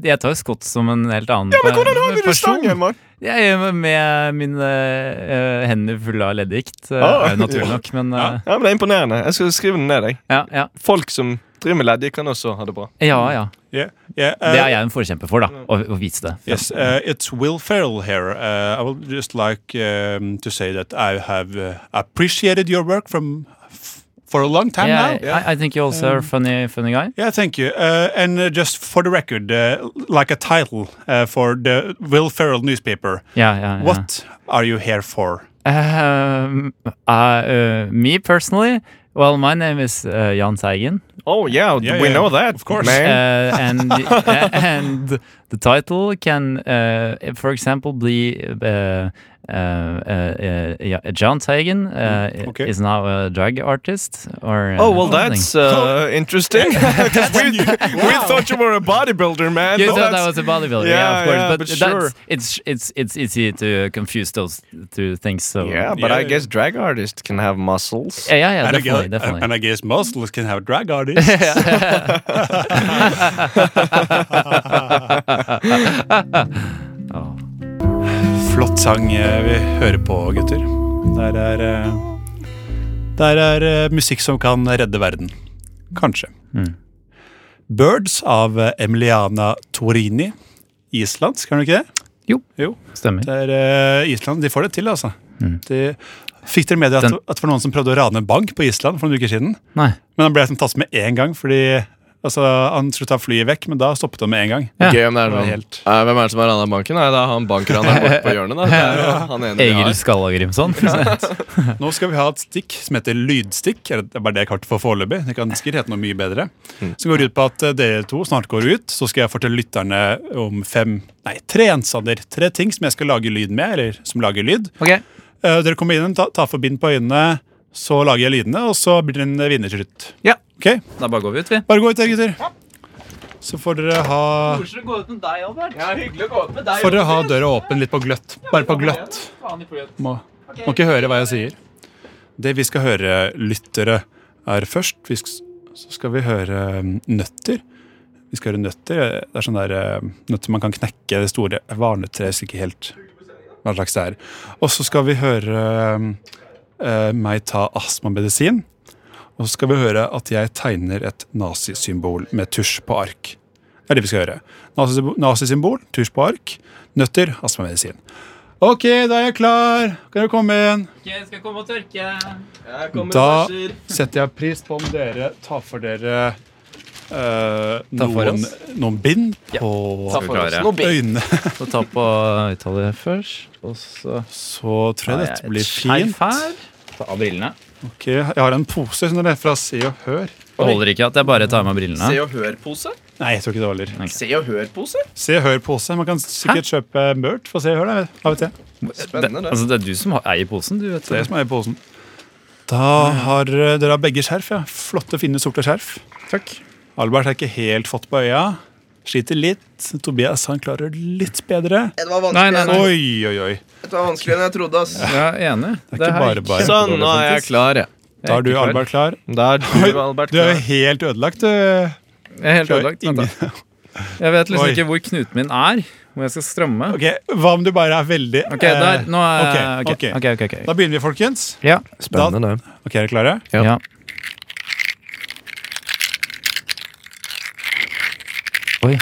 S3: Jeg tar jo skott som en helt annen
S1: Ja, men Hvordan
S3: pe-
S1: holder du
S3: person.
S1: stangen, mann?
S3: Jeg gjør med mine eh, hender fulle av leddgikt. eh,
S1: Ah.
S3: er jo naturlig nok, men eh,
S1: Ja, men Det er imponerende. Jeg skal skrive den ned. Jeg.
S3: ja, ja.
S1: Folk som driver med leddgikt, kan også ha det bra.
S3: ja, ja.
S2: Yeah, yeah,
S3: Det
S2: eh,
S3: er jeg en forkjemper for, da. Å, å vise det.
S2: Yes, uh, it's Will Ferrell here. Uh, I would just like um, to say that I have uh, appreciated your work from f- for a long time
S3: Yeah,
S2: now.
S3: I, I think you're also a funny, funny guy.
S2: Yeah, thank you. Uh, and uh, just for the record, uh, like a title uh, for the Will Ferrell newspaper,
S3: Yeah, yeah, yeah.
S2: what are you here for?
S3: Um, uh, uh, me personally, well, my name is uh, Jan Teigen.
S1: Oh yeah,
S2: Yeah,
S1: we
S2: yeah,
S1: know that.
S2: of course.
S1: Man.
S3: uh, and <laughs> and the title can, uh, for example, eh, be uh, uh, uh, yeah, John Sagan uh,
S2: okay.
S3: is now a drag artist. Or
S1: Mm, Oh, well,
S3: something. <laughs>
S1: that's uh, interesting. <laughs>
S2: <laughs>
S1: 'Cause we, we thought you were a bodybuilder, man.
S3: You
S1: No,
S3: thought that
S1: that's-
S3: was a bodybuilder, yeah,
S1: Yeah,
S3: of course.
S1: yeah,
S3: but
S1: but
S3: that's,
S1: sure.
S3: it's it's it's easy to confuse those two things. So
S1: yeah, but
S2: Yeah,
S1: I
S2: yeah.
S1: guess drag artists can have muscles.
S3: yeah, yeah, yeah,
S2: And I
S3: definitely,
S2: guess-
S3: definitely.
S2: And I guess muscles can have drag artists.
S1: <laughs>
S3: oh.
S2: <laughs> Flott sang eh, vi hører på, gutter. Der er eh, Der er eh, musikk som kan redde verden. Kanskje.
S3: Mm.
S2: Birds av eh, Emiliana Torini. Islandsk, kan du ikke det?
S3: Jo.
S2: jo.
S3: <laughs> Stemmer.
S2: Det er eh, Island. De får det til, altså.
S3: Mm.
S2: De, fikk dere med dere at,
S3: Den-
S2: at det var noen som prøvde å rane en bank på Island for noen uker siden?
S3: Nei.
S2: Men han ble liksom tatt med én gang, fordi altså, han skulle ta flyet vekk, men da stoppet han med én gang.
S3: Ja.
S1: Gøy om det er
S2: Det var
S1: noen-
S2: helt-
S1: Nei, Eh, Hvem er det som har rana banken? Nei, det er han bankraneren borte på hjørnet. Da. Det er jo han ene vi har.
S3: Egil Skallagrimson.
S2: Nå skal vi ha et stikk som heter lydstikk. eller Det er bare det jeg klarte for foreløpig. Det kan sikkert hete noe mye bedre.
S3: Mm.
S2: Som går ut på at eh, dere to snart går ut, så skal jeg fortelle lytterne om fem, nei, tre gjenstander. Tre ting som jeg skal lage lyd med, eller som lager lyd.
S3: ok,
S2: Eh, Dere kommer inn, ta- tar for bind på øynene, så lager jeg lydene, og så blir det en eh, vinner til slutt.
S3: Ja.
S2: Ok?
S3: <laughs> da bare går vi ut, vi.
S2: Bare gå ut, dere gutter. Så får dere ha
S3: Koselig å gå ut med deg, Albert.
S2: Får dere ha døra åpen litt på gløtt. Bare på gløtt. Må, må ikke høre hva jeg sier. Det vi skal høre, lyttere, er først vi sk- Så skal vi høre mm, nøtter. Vi skal høre nøtter. eh, Det er sånne der, eh, nøtter man kan knekke. Det store varnetreet husker ikke helt hva slags det er. Og så skal vi høre eh, meg ta astmamedisin. Og så skal vi høre at jeg tegner et nazisymbol med tusj på ark. Det er det vi skal gjøre. Nazisymbol, nazisymbol tusj på ark, nøtter, astmamedisin. Ok, da er jeg klar. Kan dere komme inn?
S3: skal jeg komme og tørke?
S2: Da setter jeg pris på om dere tar for dere eh,
S3: Ta for
S2: noen,
S3: oss.
S2: noen bind på
S3: Ta for oss noe bind.
S2: øynene.
S3: Så ta på uttale først, og så
S2: Så tror jeg
S3: har jeg
S2: dette
S3: et
S2: blir
S3: skjerf
S2: fint.
S3: her. Ta av brillene.
S2: Ok, jeg har en pose som dere er fra Se og Hør.
S3: Det holder ikke at jeg bare tar av meg brillene.
S1: og hør-pose?
S2: Nei, jeg tror ikke det holder.
S1: Se og hør-pose?
S2: Se og Hør-pose. Man kan sikkert kjøpe mørt for Se og Hør. Da. Da vet jeg.
S1: Spennende, det.
S3: Altså, det er du som har- eier posen, du vet
S2: Det er det som er i posen. Da har eh, dere har begge skjerf. ja. Flotte, fine, sorte skjerf.
S1: Takk.
S2: Albert har ikke helt fått på øya. Sliter litt. Tobias han klarer litt bedre.
S6: Det var
S3: Nei, nei,
S6: vanskeligere,
S3: nei.
S2: Oi, oi, oi.
S6: det var vanskeligere enn jeg trodde. ass.
S3: Jeg er enig.
S2: Det er ikke bare bare.
S1: Sånn, nå er jeg klar, ja.
S2: Da er du, Albert, klar.
S1: Da er
S2: Oi,
S1: du, Albert,
S2: Du er jo
S1: klar.
S2: helt ødelagt, du.
S3: Jeg er helt
S2: Klarer
S3: ødelagt.
S2: ingen-
S3: Vent, da. Jeg vet liksom
S2: Oi.
S3: ikke hvor knuten min er, hvor jeg skal stramme.
S2: Ok, Hva om du bare er veldig
S3: Ok, der. Nå er
S2: eh, ok,
S3: Ok,
S2: ok.
S3: ok. ok, ok.
S2: Da begynner vi, folkens.
S3: Ja.
S1: Spennende, det.
S2: Ok, Er dere klare?
S1: Ja.
S3: ja. Oi.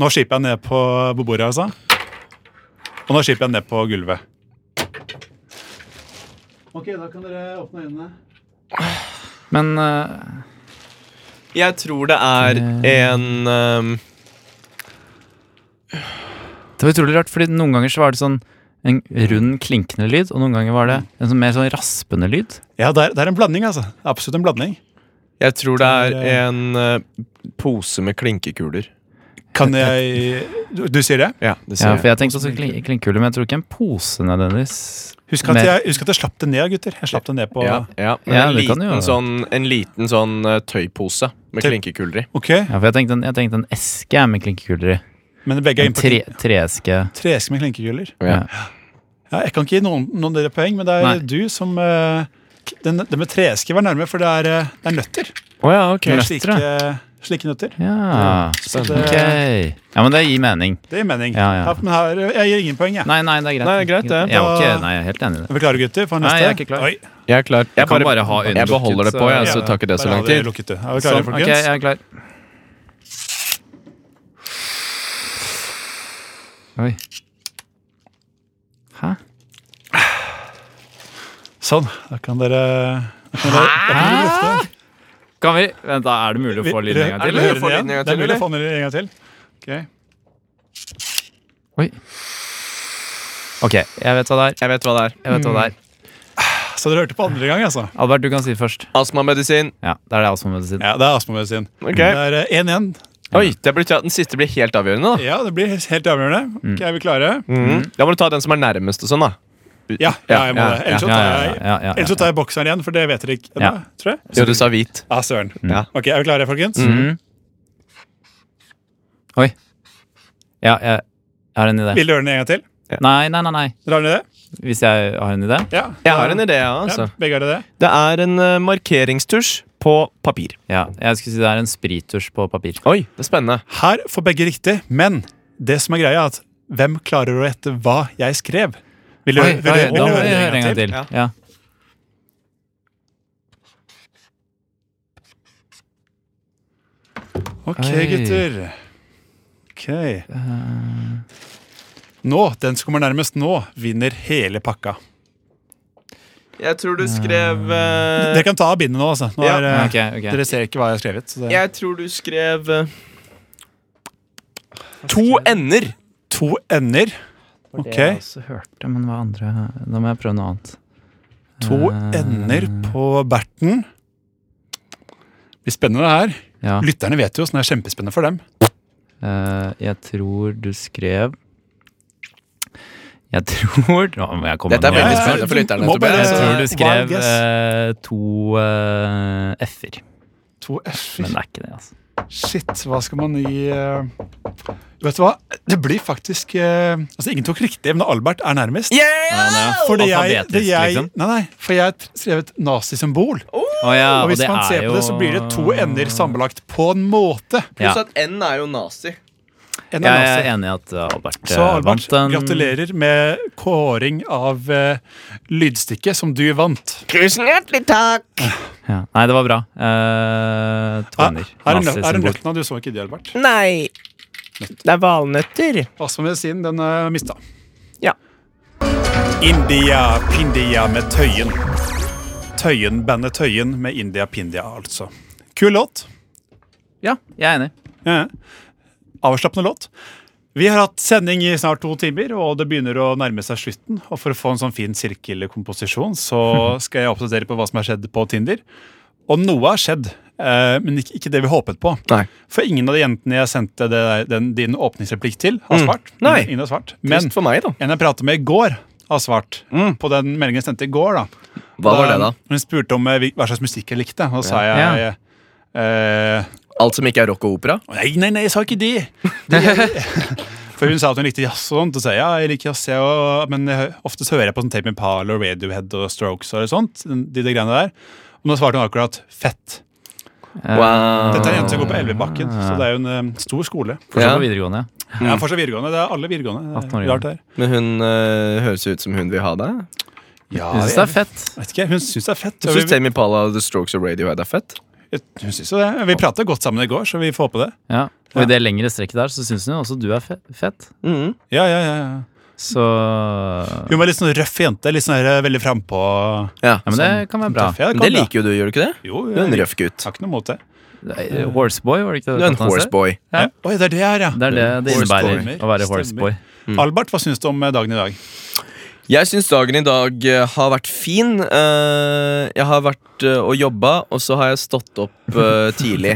S2: Nå skiper jeg ned på på bordet, altså. Og nå skiper jeg ned på gulvet. Ok, da kan dere åpne øynene.
S3: Men eh,
S1: Jeg tror det er en um,
S3: det var utrolig rart, fordi noen ganger så var det sånn en rund, klinkende lyd, og noen ganger var det en sånn mer sånn raspende lyd.
S2: Ja, det er, det er en blanding, altså. Absolutt en blanding.
S1: Jeg tror det er
S2: Det er,
S1: en uh, pose med klinkekuler.
S2: Kan jeg Du, du sier det?
S1: Ja, det
S3: Ja, for
S1: ser jeg. sånn
S3: jeg tenkte også klin- klinkekuler, men jeg tror ikke en pose nødvendigvis.
S2: Husk at,
S3: Mer.
S2: jeg, husk at jeg slapp det ned, gutter. Jeg slapp det ned på
S1: Ja, ja. Men
S3: Ja,
S1: en,
S3: det kan du
S1: liten
S3: gjøre.
S1: sånn, en liten sånn uh, tøypose med
S2: Tøy-
S1: klinkekuler i.
S2: Ok,
S3: Ja, for jeg tenkte en, jeg tenkte en eske jeg, med klinkekuler i.
S2: Men begge er
S3: En
S2: inne på
S3: tre, treeske.
S2: treeske med klinkekuler.
S1: Ja.
S2: Ja, jeg kan ikke gi noen, noen dere poeng, men det er
S3: Nei.
S2: du som eh, den, den med treeske var nærme, for det er, eh, det er nøtter.
S1: Å ja, ok.
S2: Det er
S3: Nøtter,
S2: slike, slike nøtter.
S3: Ja,
S2: Så det,
S3: ok. Ja, men det gir mening.
S2: det gir mening.
S3: Ja, ja.
S2: men her, jeg gir ingen poeng, jeg.
S3: Nei, nei, det er greit.
S1: Nei, greit, det.
S3: Ja,
S2: Da-
S3: ok, nei, jeg er helt enig i det.
S2: Er vi klare, gutter? For
S3: Nei,
S2: neste?
S3: jeg er ikke klar.
S2: Oi,
S1: Jeg er klar. Jeg,
S3: kan bare ha øynene
S1: jeg beholder
S3: lukket,
S1: det på, jeg,
S3: så-
S1: så tar ikke det så
S2: bare
S1: lang
S2: ha det
S1: tid.
S2: lukket, du. Er vi klare,
S3: Sånn, ok,
S2: folkens?
S3: jeg er klar. Oi. Hæ?
S2: Sånn. Da kan dere da kan dere- da kan dere lufte.
S3: Kan vi Vent, da er det mulig å få lyden en gang
S2: Er
S3: til?
S2: det mulig å
S3: eller?
S2: få den igjen?
S1: lyden en gang
S2: Det er
S1: til,
S2: mulig å få den en gang til. Ok.
S3: Oi. Ok, jeg vet hva det er. Mm.
S1: Jeg vet hva det er.
S3: Jeg vet hva det er.
S2: Så dere hørte på andre gang, altså?
S3: Albert, du kan si det først.
S1: Astmamedisin.
S3: Ja, det er det astmamedisin.
S2: Ja, det er astmamedisin.
S1: Ok.
S2: Det er eh, 1-1.
S1: Oi, det betyr at den siste blir helt avgjørende, da.
S2: Ja, det blir helt avgjørende. Ok, er vi klare?
S1: Mhm. Da må du ta den som er nærmest og sånn, da.
S2: Ja, ja, jeg må det. Ellers så
S3: ja,
S2: tar
S3: ja,
S2: jeg,
S3: ja, ja, ja.
S2: ellers så tar jeg bokseren igjen, for det vet dere ikke ennå,
S3: Ja.
S2: tror jeg.
S1: Jo, du sa hvit.
S2: Ah, søren.
S3: Mm.
S1: Ja.
S2: Ok, er vi klare, folkens?
S3: Mhm. Oi. Ja, jeg, jeg har en idé.
S2: Vil du høre den en gang til?
S3: Nei, nei, nei, nei.
S2: Drar dere det?
S3: Hvis jeg har en idé?
S2: Ja.
S1: Jeg har en idé, ja,
S2: Ja,
S1: altså.
S2: begge har det det?
S1: Det er en eh, markeringstusj på papir.
S3: Ja. Jeg skulle si det er en sprittusj på papir.
S1: Oi, det er spennende.
S2: Her får begge riktig, men det som er greia, er at hvem klarer å gjette hva jeg skrev? Vil du,
S3: Oi,
S2: vil du,
S3: oi,
S2: vil
S3: da
S2: du
S3: må
S2: høre
S3: vi
S2: det en gang til?
S3: til. Ja.
S2: Ok,
S3: Oi.
S2: gutter. Ok. Nå, den som kommer nærmest nå, vinner hele pakka.
S1: Jeg tror du skrev eh,
S2: Dere kan ta av bindet nå, altså. Nå
S1: Ja.
S2: er,
S3: Ja,
S2: eh,
S3: ok, ok.
S2: Dere ser ikke hva jeg har skrevet. Så det er
S1: Jeg tror du skrev eh, To ender.
S2: to ender.
S3: Det
S2: Ok,
S3: jeg også hørte, men hva andre Da må jeg prøve noe annet.
S2: to
S3: Eh,
S2: ender på berten. Det blir spennende, det her.
S3: Ja.
S2: Lytterne vet jo, så det er kjempespennende for dem.
S3: Eh, jeg tror du skrev Jeg <laughs> tror Nå må jeg komme
S1: Dette er
S3: med noe.
S1: veldig
S2: ja,
S1: spennende for
S2: du
S1: lytterne.
S2: må bare-
S1: Tobias.
S3: Jeg tror du
S2: Wild
S3: skrev
S2: guess.
S3: eh, to eh, f-er.
S2: To f-er.
S3: Men det er ikke det, altså.
S2: Shit, hva skal man gi eh? Vet du hva, det blir faktisk eh, Altså, ingen tok riktig, men Albert er nærmest.
S1: Yeah!
S2: Fordi jeg,
S3: Alfabetisk,
S2: det jeg,
S3: liksom.
S2: nei, nei, for jeg har t- skrevet nazisymbol.
S3: Å ja,
S2: og hvis
S3: det
S2: man
S3: er
S2: ser på det, så
S3: jo-
S2: blir det to ender sammenlagt på en måte.
S3: Ja.
S1: at N er jo nazi.
S2: En er
S3: Jeg er
S2: nazi.
S3: enig i at Albert,
S2: Så
S3: eh,
S2: Albert,
S3: vant den.
S2: gratulerer med kåring av eh, lydstykket som du vant.
S1: Tusen hjertelig takk!
S3: Ja. Nei, det var bra. Eh, to
S2: Ah, Er,
S3: ender.
S2: er det nø- er det
S3: Nazisymbol.
S2: nøtten av du så ikke de, Albert?
S1: Nei. Det er valnøtter.
S2: Pass på medisinen, den eh, er mista.
S1: Ja.
S2: India Pindia med Tøyen. Tøyen, bandet Tøyen med India Pindia, altså. Kul låt.
S3: Ja, jeg er enig.
S2: Ja. Avslappende låt. Vi har hatt sending i snart to timer, og det begynner å nærme seg slutten. Og for å få en sånn fin sirkelkomposisjon,
S1: <laughs>
S2: så skal jeg oppdatere på hva som har skjedd på Tinder. Og noe har skjedd, eh, men ikke ikke det vi håpet på.
S1: Nei.
S2: For ingen av de jentene jeg sendte det, den, din åpningsreplikk til, har
S1: Mm.
S2: svart.
S1: Nei.
S2: Ingen, ingen har svart.
S1: Men
S2: Men
S1: for meg, da.
S2: en jeg pratet med i går, har svart på den meldingen jeg sendte i går. da.
S1: Hva var Mm. det, da?
S2: Hun spurte om eh, hvil- hva slags musikk jeg likte, og da sa jeg
S3: Ja.
S2: eh,
S1: Alt som ikke er rock og opera?
S2: Nei, nei, nei, jeg sa ikke <laughs> det! Det- For hun sa at hun likte jazz og sånt, og sa ja, jeg liker jazz, jeg òg, men jeg hø- oftest hører jeg på sånn Tape Impala og Radiohead og Strokes og sånt. De, de greiene der. Og nå svarte hun akkurat 'fett'.
S3: Eh,
S1: Wow.
S2: Dette er en jente som går på Elvebakken, så det er jo en eh, stor skole.
S3: Fortsatt
S1: Ja.
S3: på videregående. ja.
S2: Ja, fortsatt videregående. Det er alle videregående.
S3: 18 år
S2: Det er Rart det her.
S1: Men hun øh, høres ut som hun vil ha deg.
S2: Ah, Ja,
S3: Jeg syns det er fett.
S2: Vet ikke, hun syns det er fett.
S1: Jeg
S2: og Vi,
S1: syns Tame Impala, The Strokes og Radiohead er fett.
S2: hun synes jo det. Vi prata godt sammen i går, så vi får håpe det.
S3: Ja. Og i det lengre strekket der så syns hun jo også du er fe- fett.
S1: Mhm.
S2: Ja, ja, ja, ja.
S3: Så ja,
S2: Hun var litt sånn røff jente. Litt sånn her, veldig frampå.
S1: Ja.
S3: Men det kan være bra.
S2: Tøff, ja,
S1: Men
S2: kan
S1: det liker jo du, gjør du ikke det?
S2: Jo,
S1: Du er en
S2: jeg
S1: røff gutt.
S2: har ikke noe mot det.
S3: Eh, Horseboy, var det ikke det?
S1: Du er en
S3: kalte han seg?
S1: horseboy.
S3: Ja.
S2: Oi, det er det her, ja.
S3: Det mm. er det det
S2: Horseboy.
S3: innebærer å være
S2: Stemmer.
S3: horseboy.
S2: Albert, hva syns du om eh, dagen i dag?
S1: Jeg syns dagen i dag eh, har vært fin. Eh, Jeg har vært eh, og jobba, og så har jeg stått opp eh, tidlig.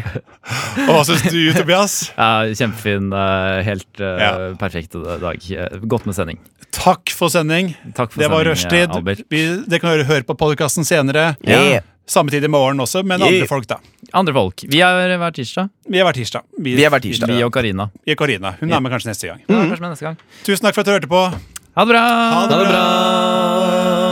S2: Og hva syns du, Tobias?
S3: Ja, kjempefin. eh, Helt eh,
S2: Ja.
S3: perfekt dag. Eh, Godt med sending.
S2: <laughs> Takk for sending.
S3: Takk for
S2: Det var
S3: sending, eh,
S2: rushtid.
S3: Albert.
S2: Vi- Dere kan høre- høre på podkasten senere.
S1: Yeah.
S2: Samme tid i morgen også, men
S1: Yeah.
S2: andre folk, da.
S3: Andre folk. Vi er hver tirsdag.
S2: Vi er hver tirsdag.
S1: Vi er hver tirsdag.
S3: Vi og Karina.
S2: Vi er Karina. Hun er med kanskje neste gang.
S3: Ja, Kanskje med neste gang.
S2: Tusen takk for at du hørte på.
S3: Ha det bra!
S2: Ha det
S1: Ha det bra!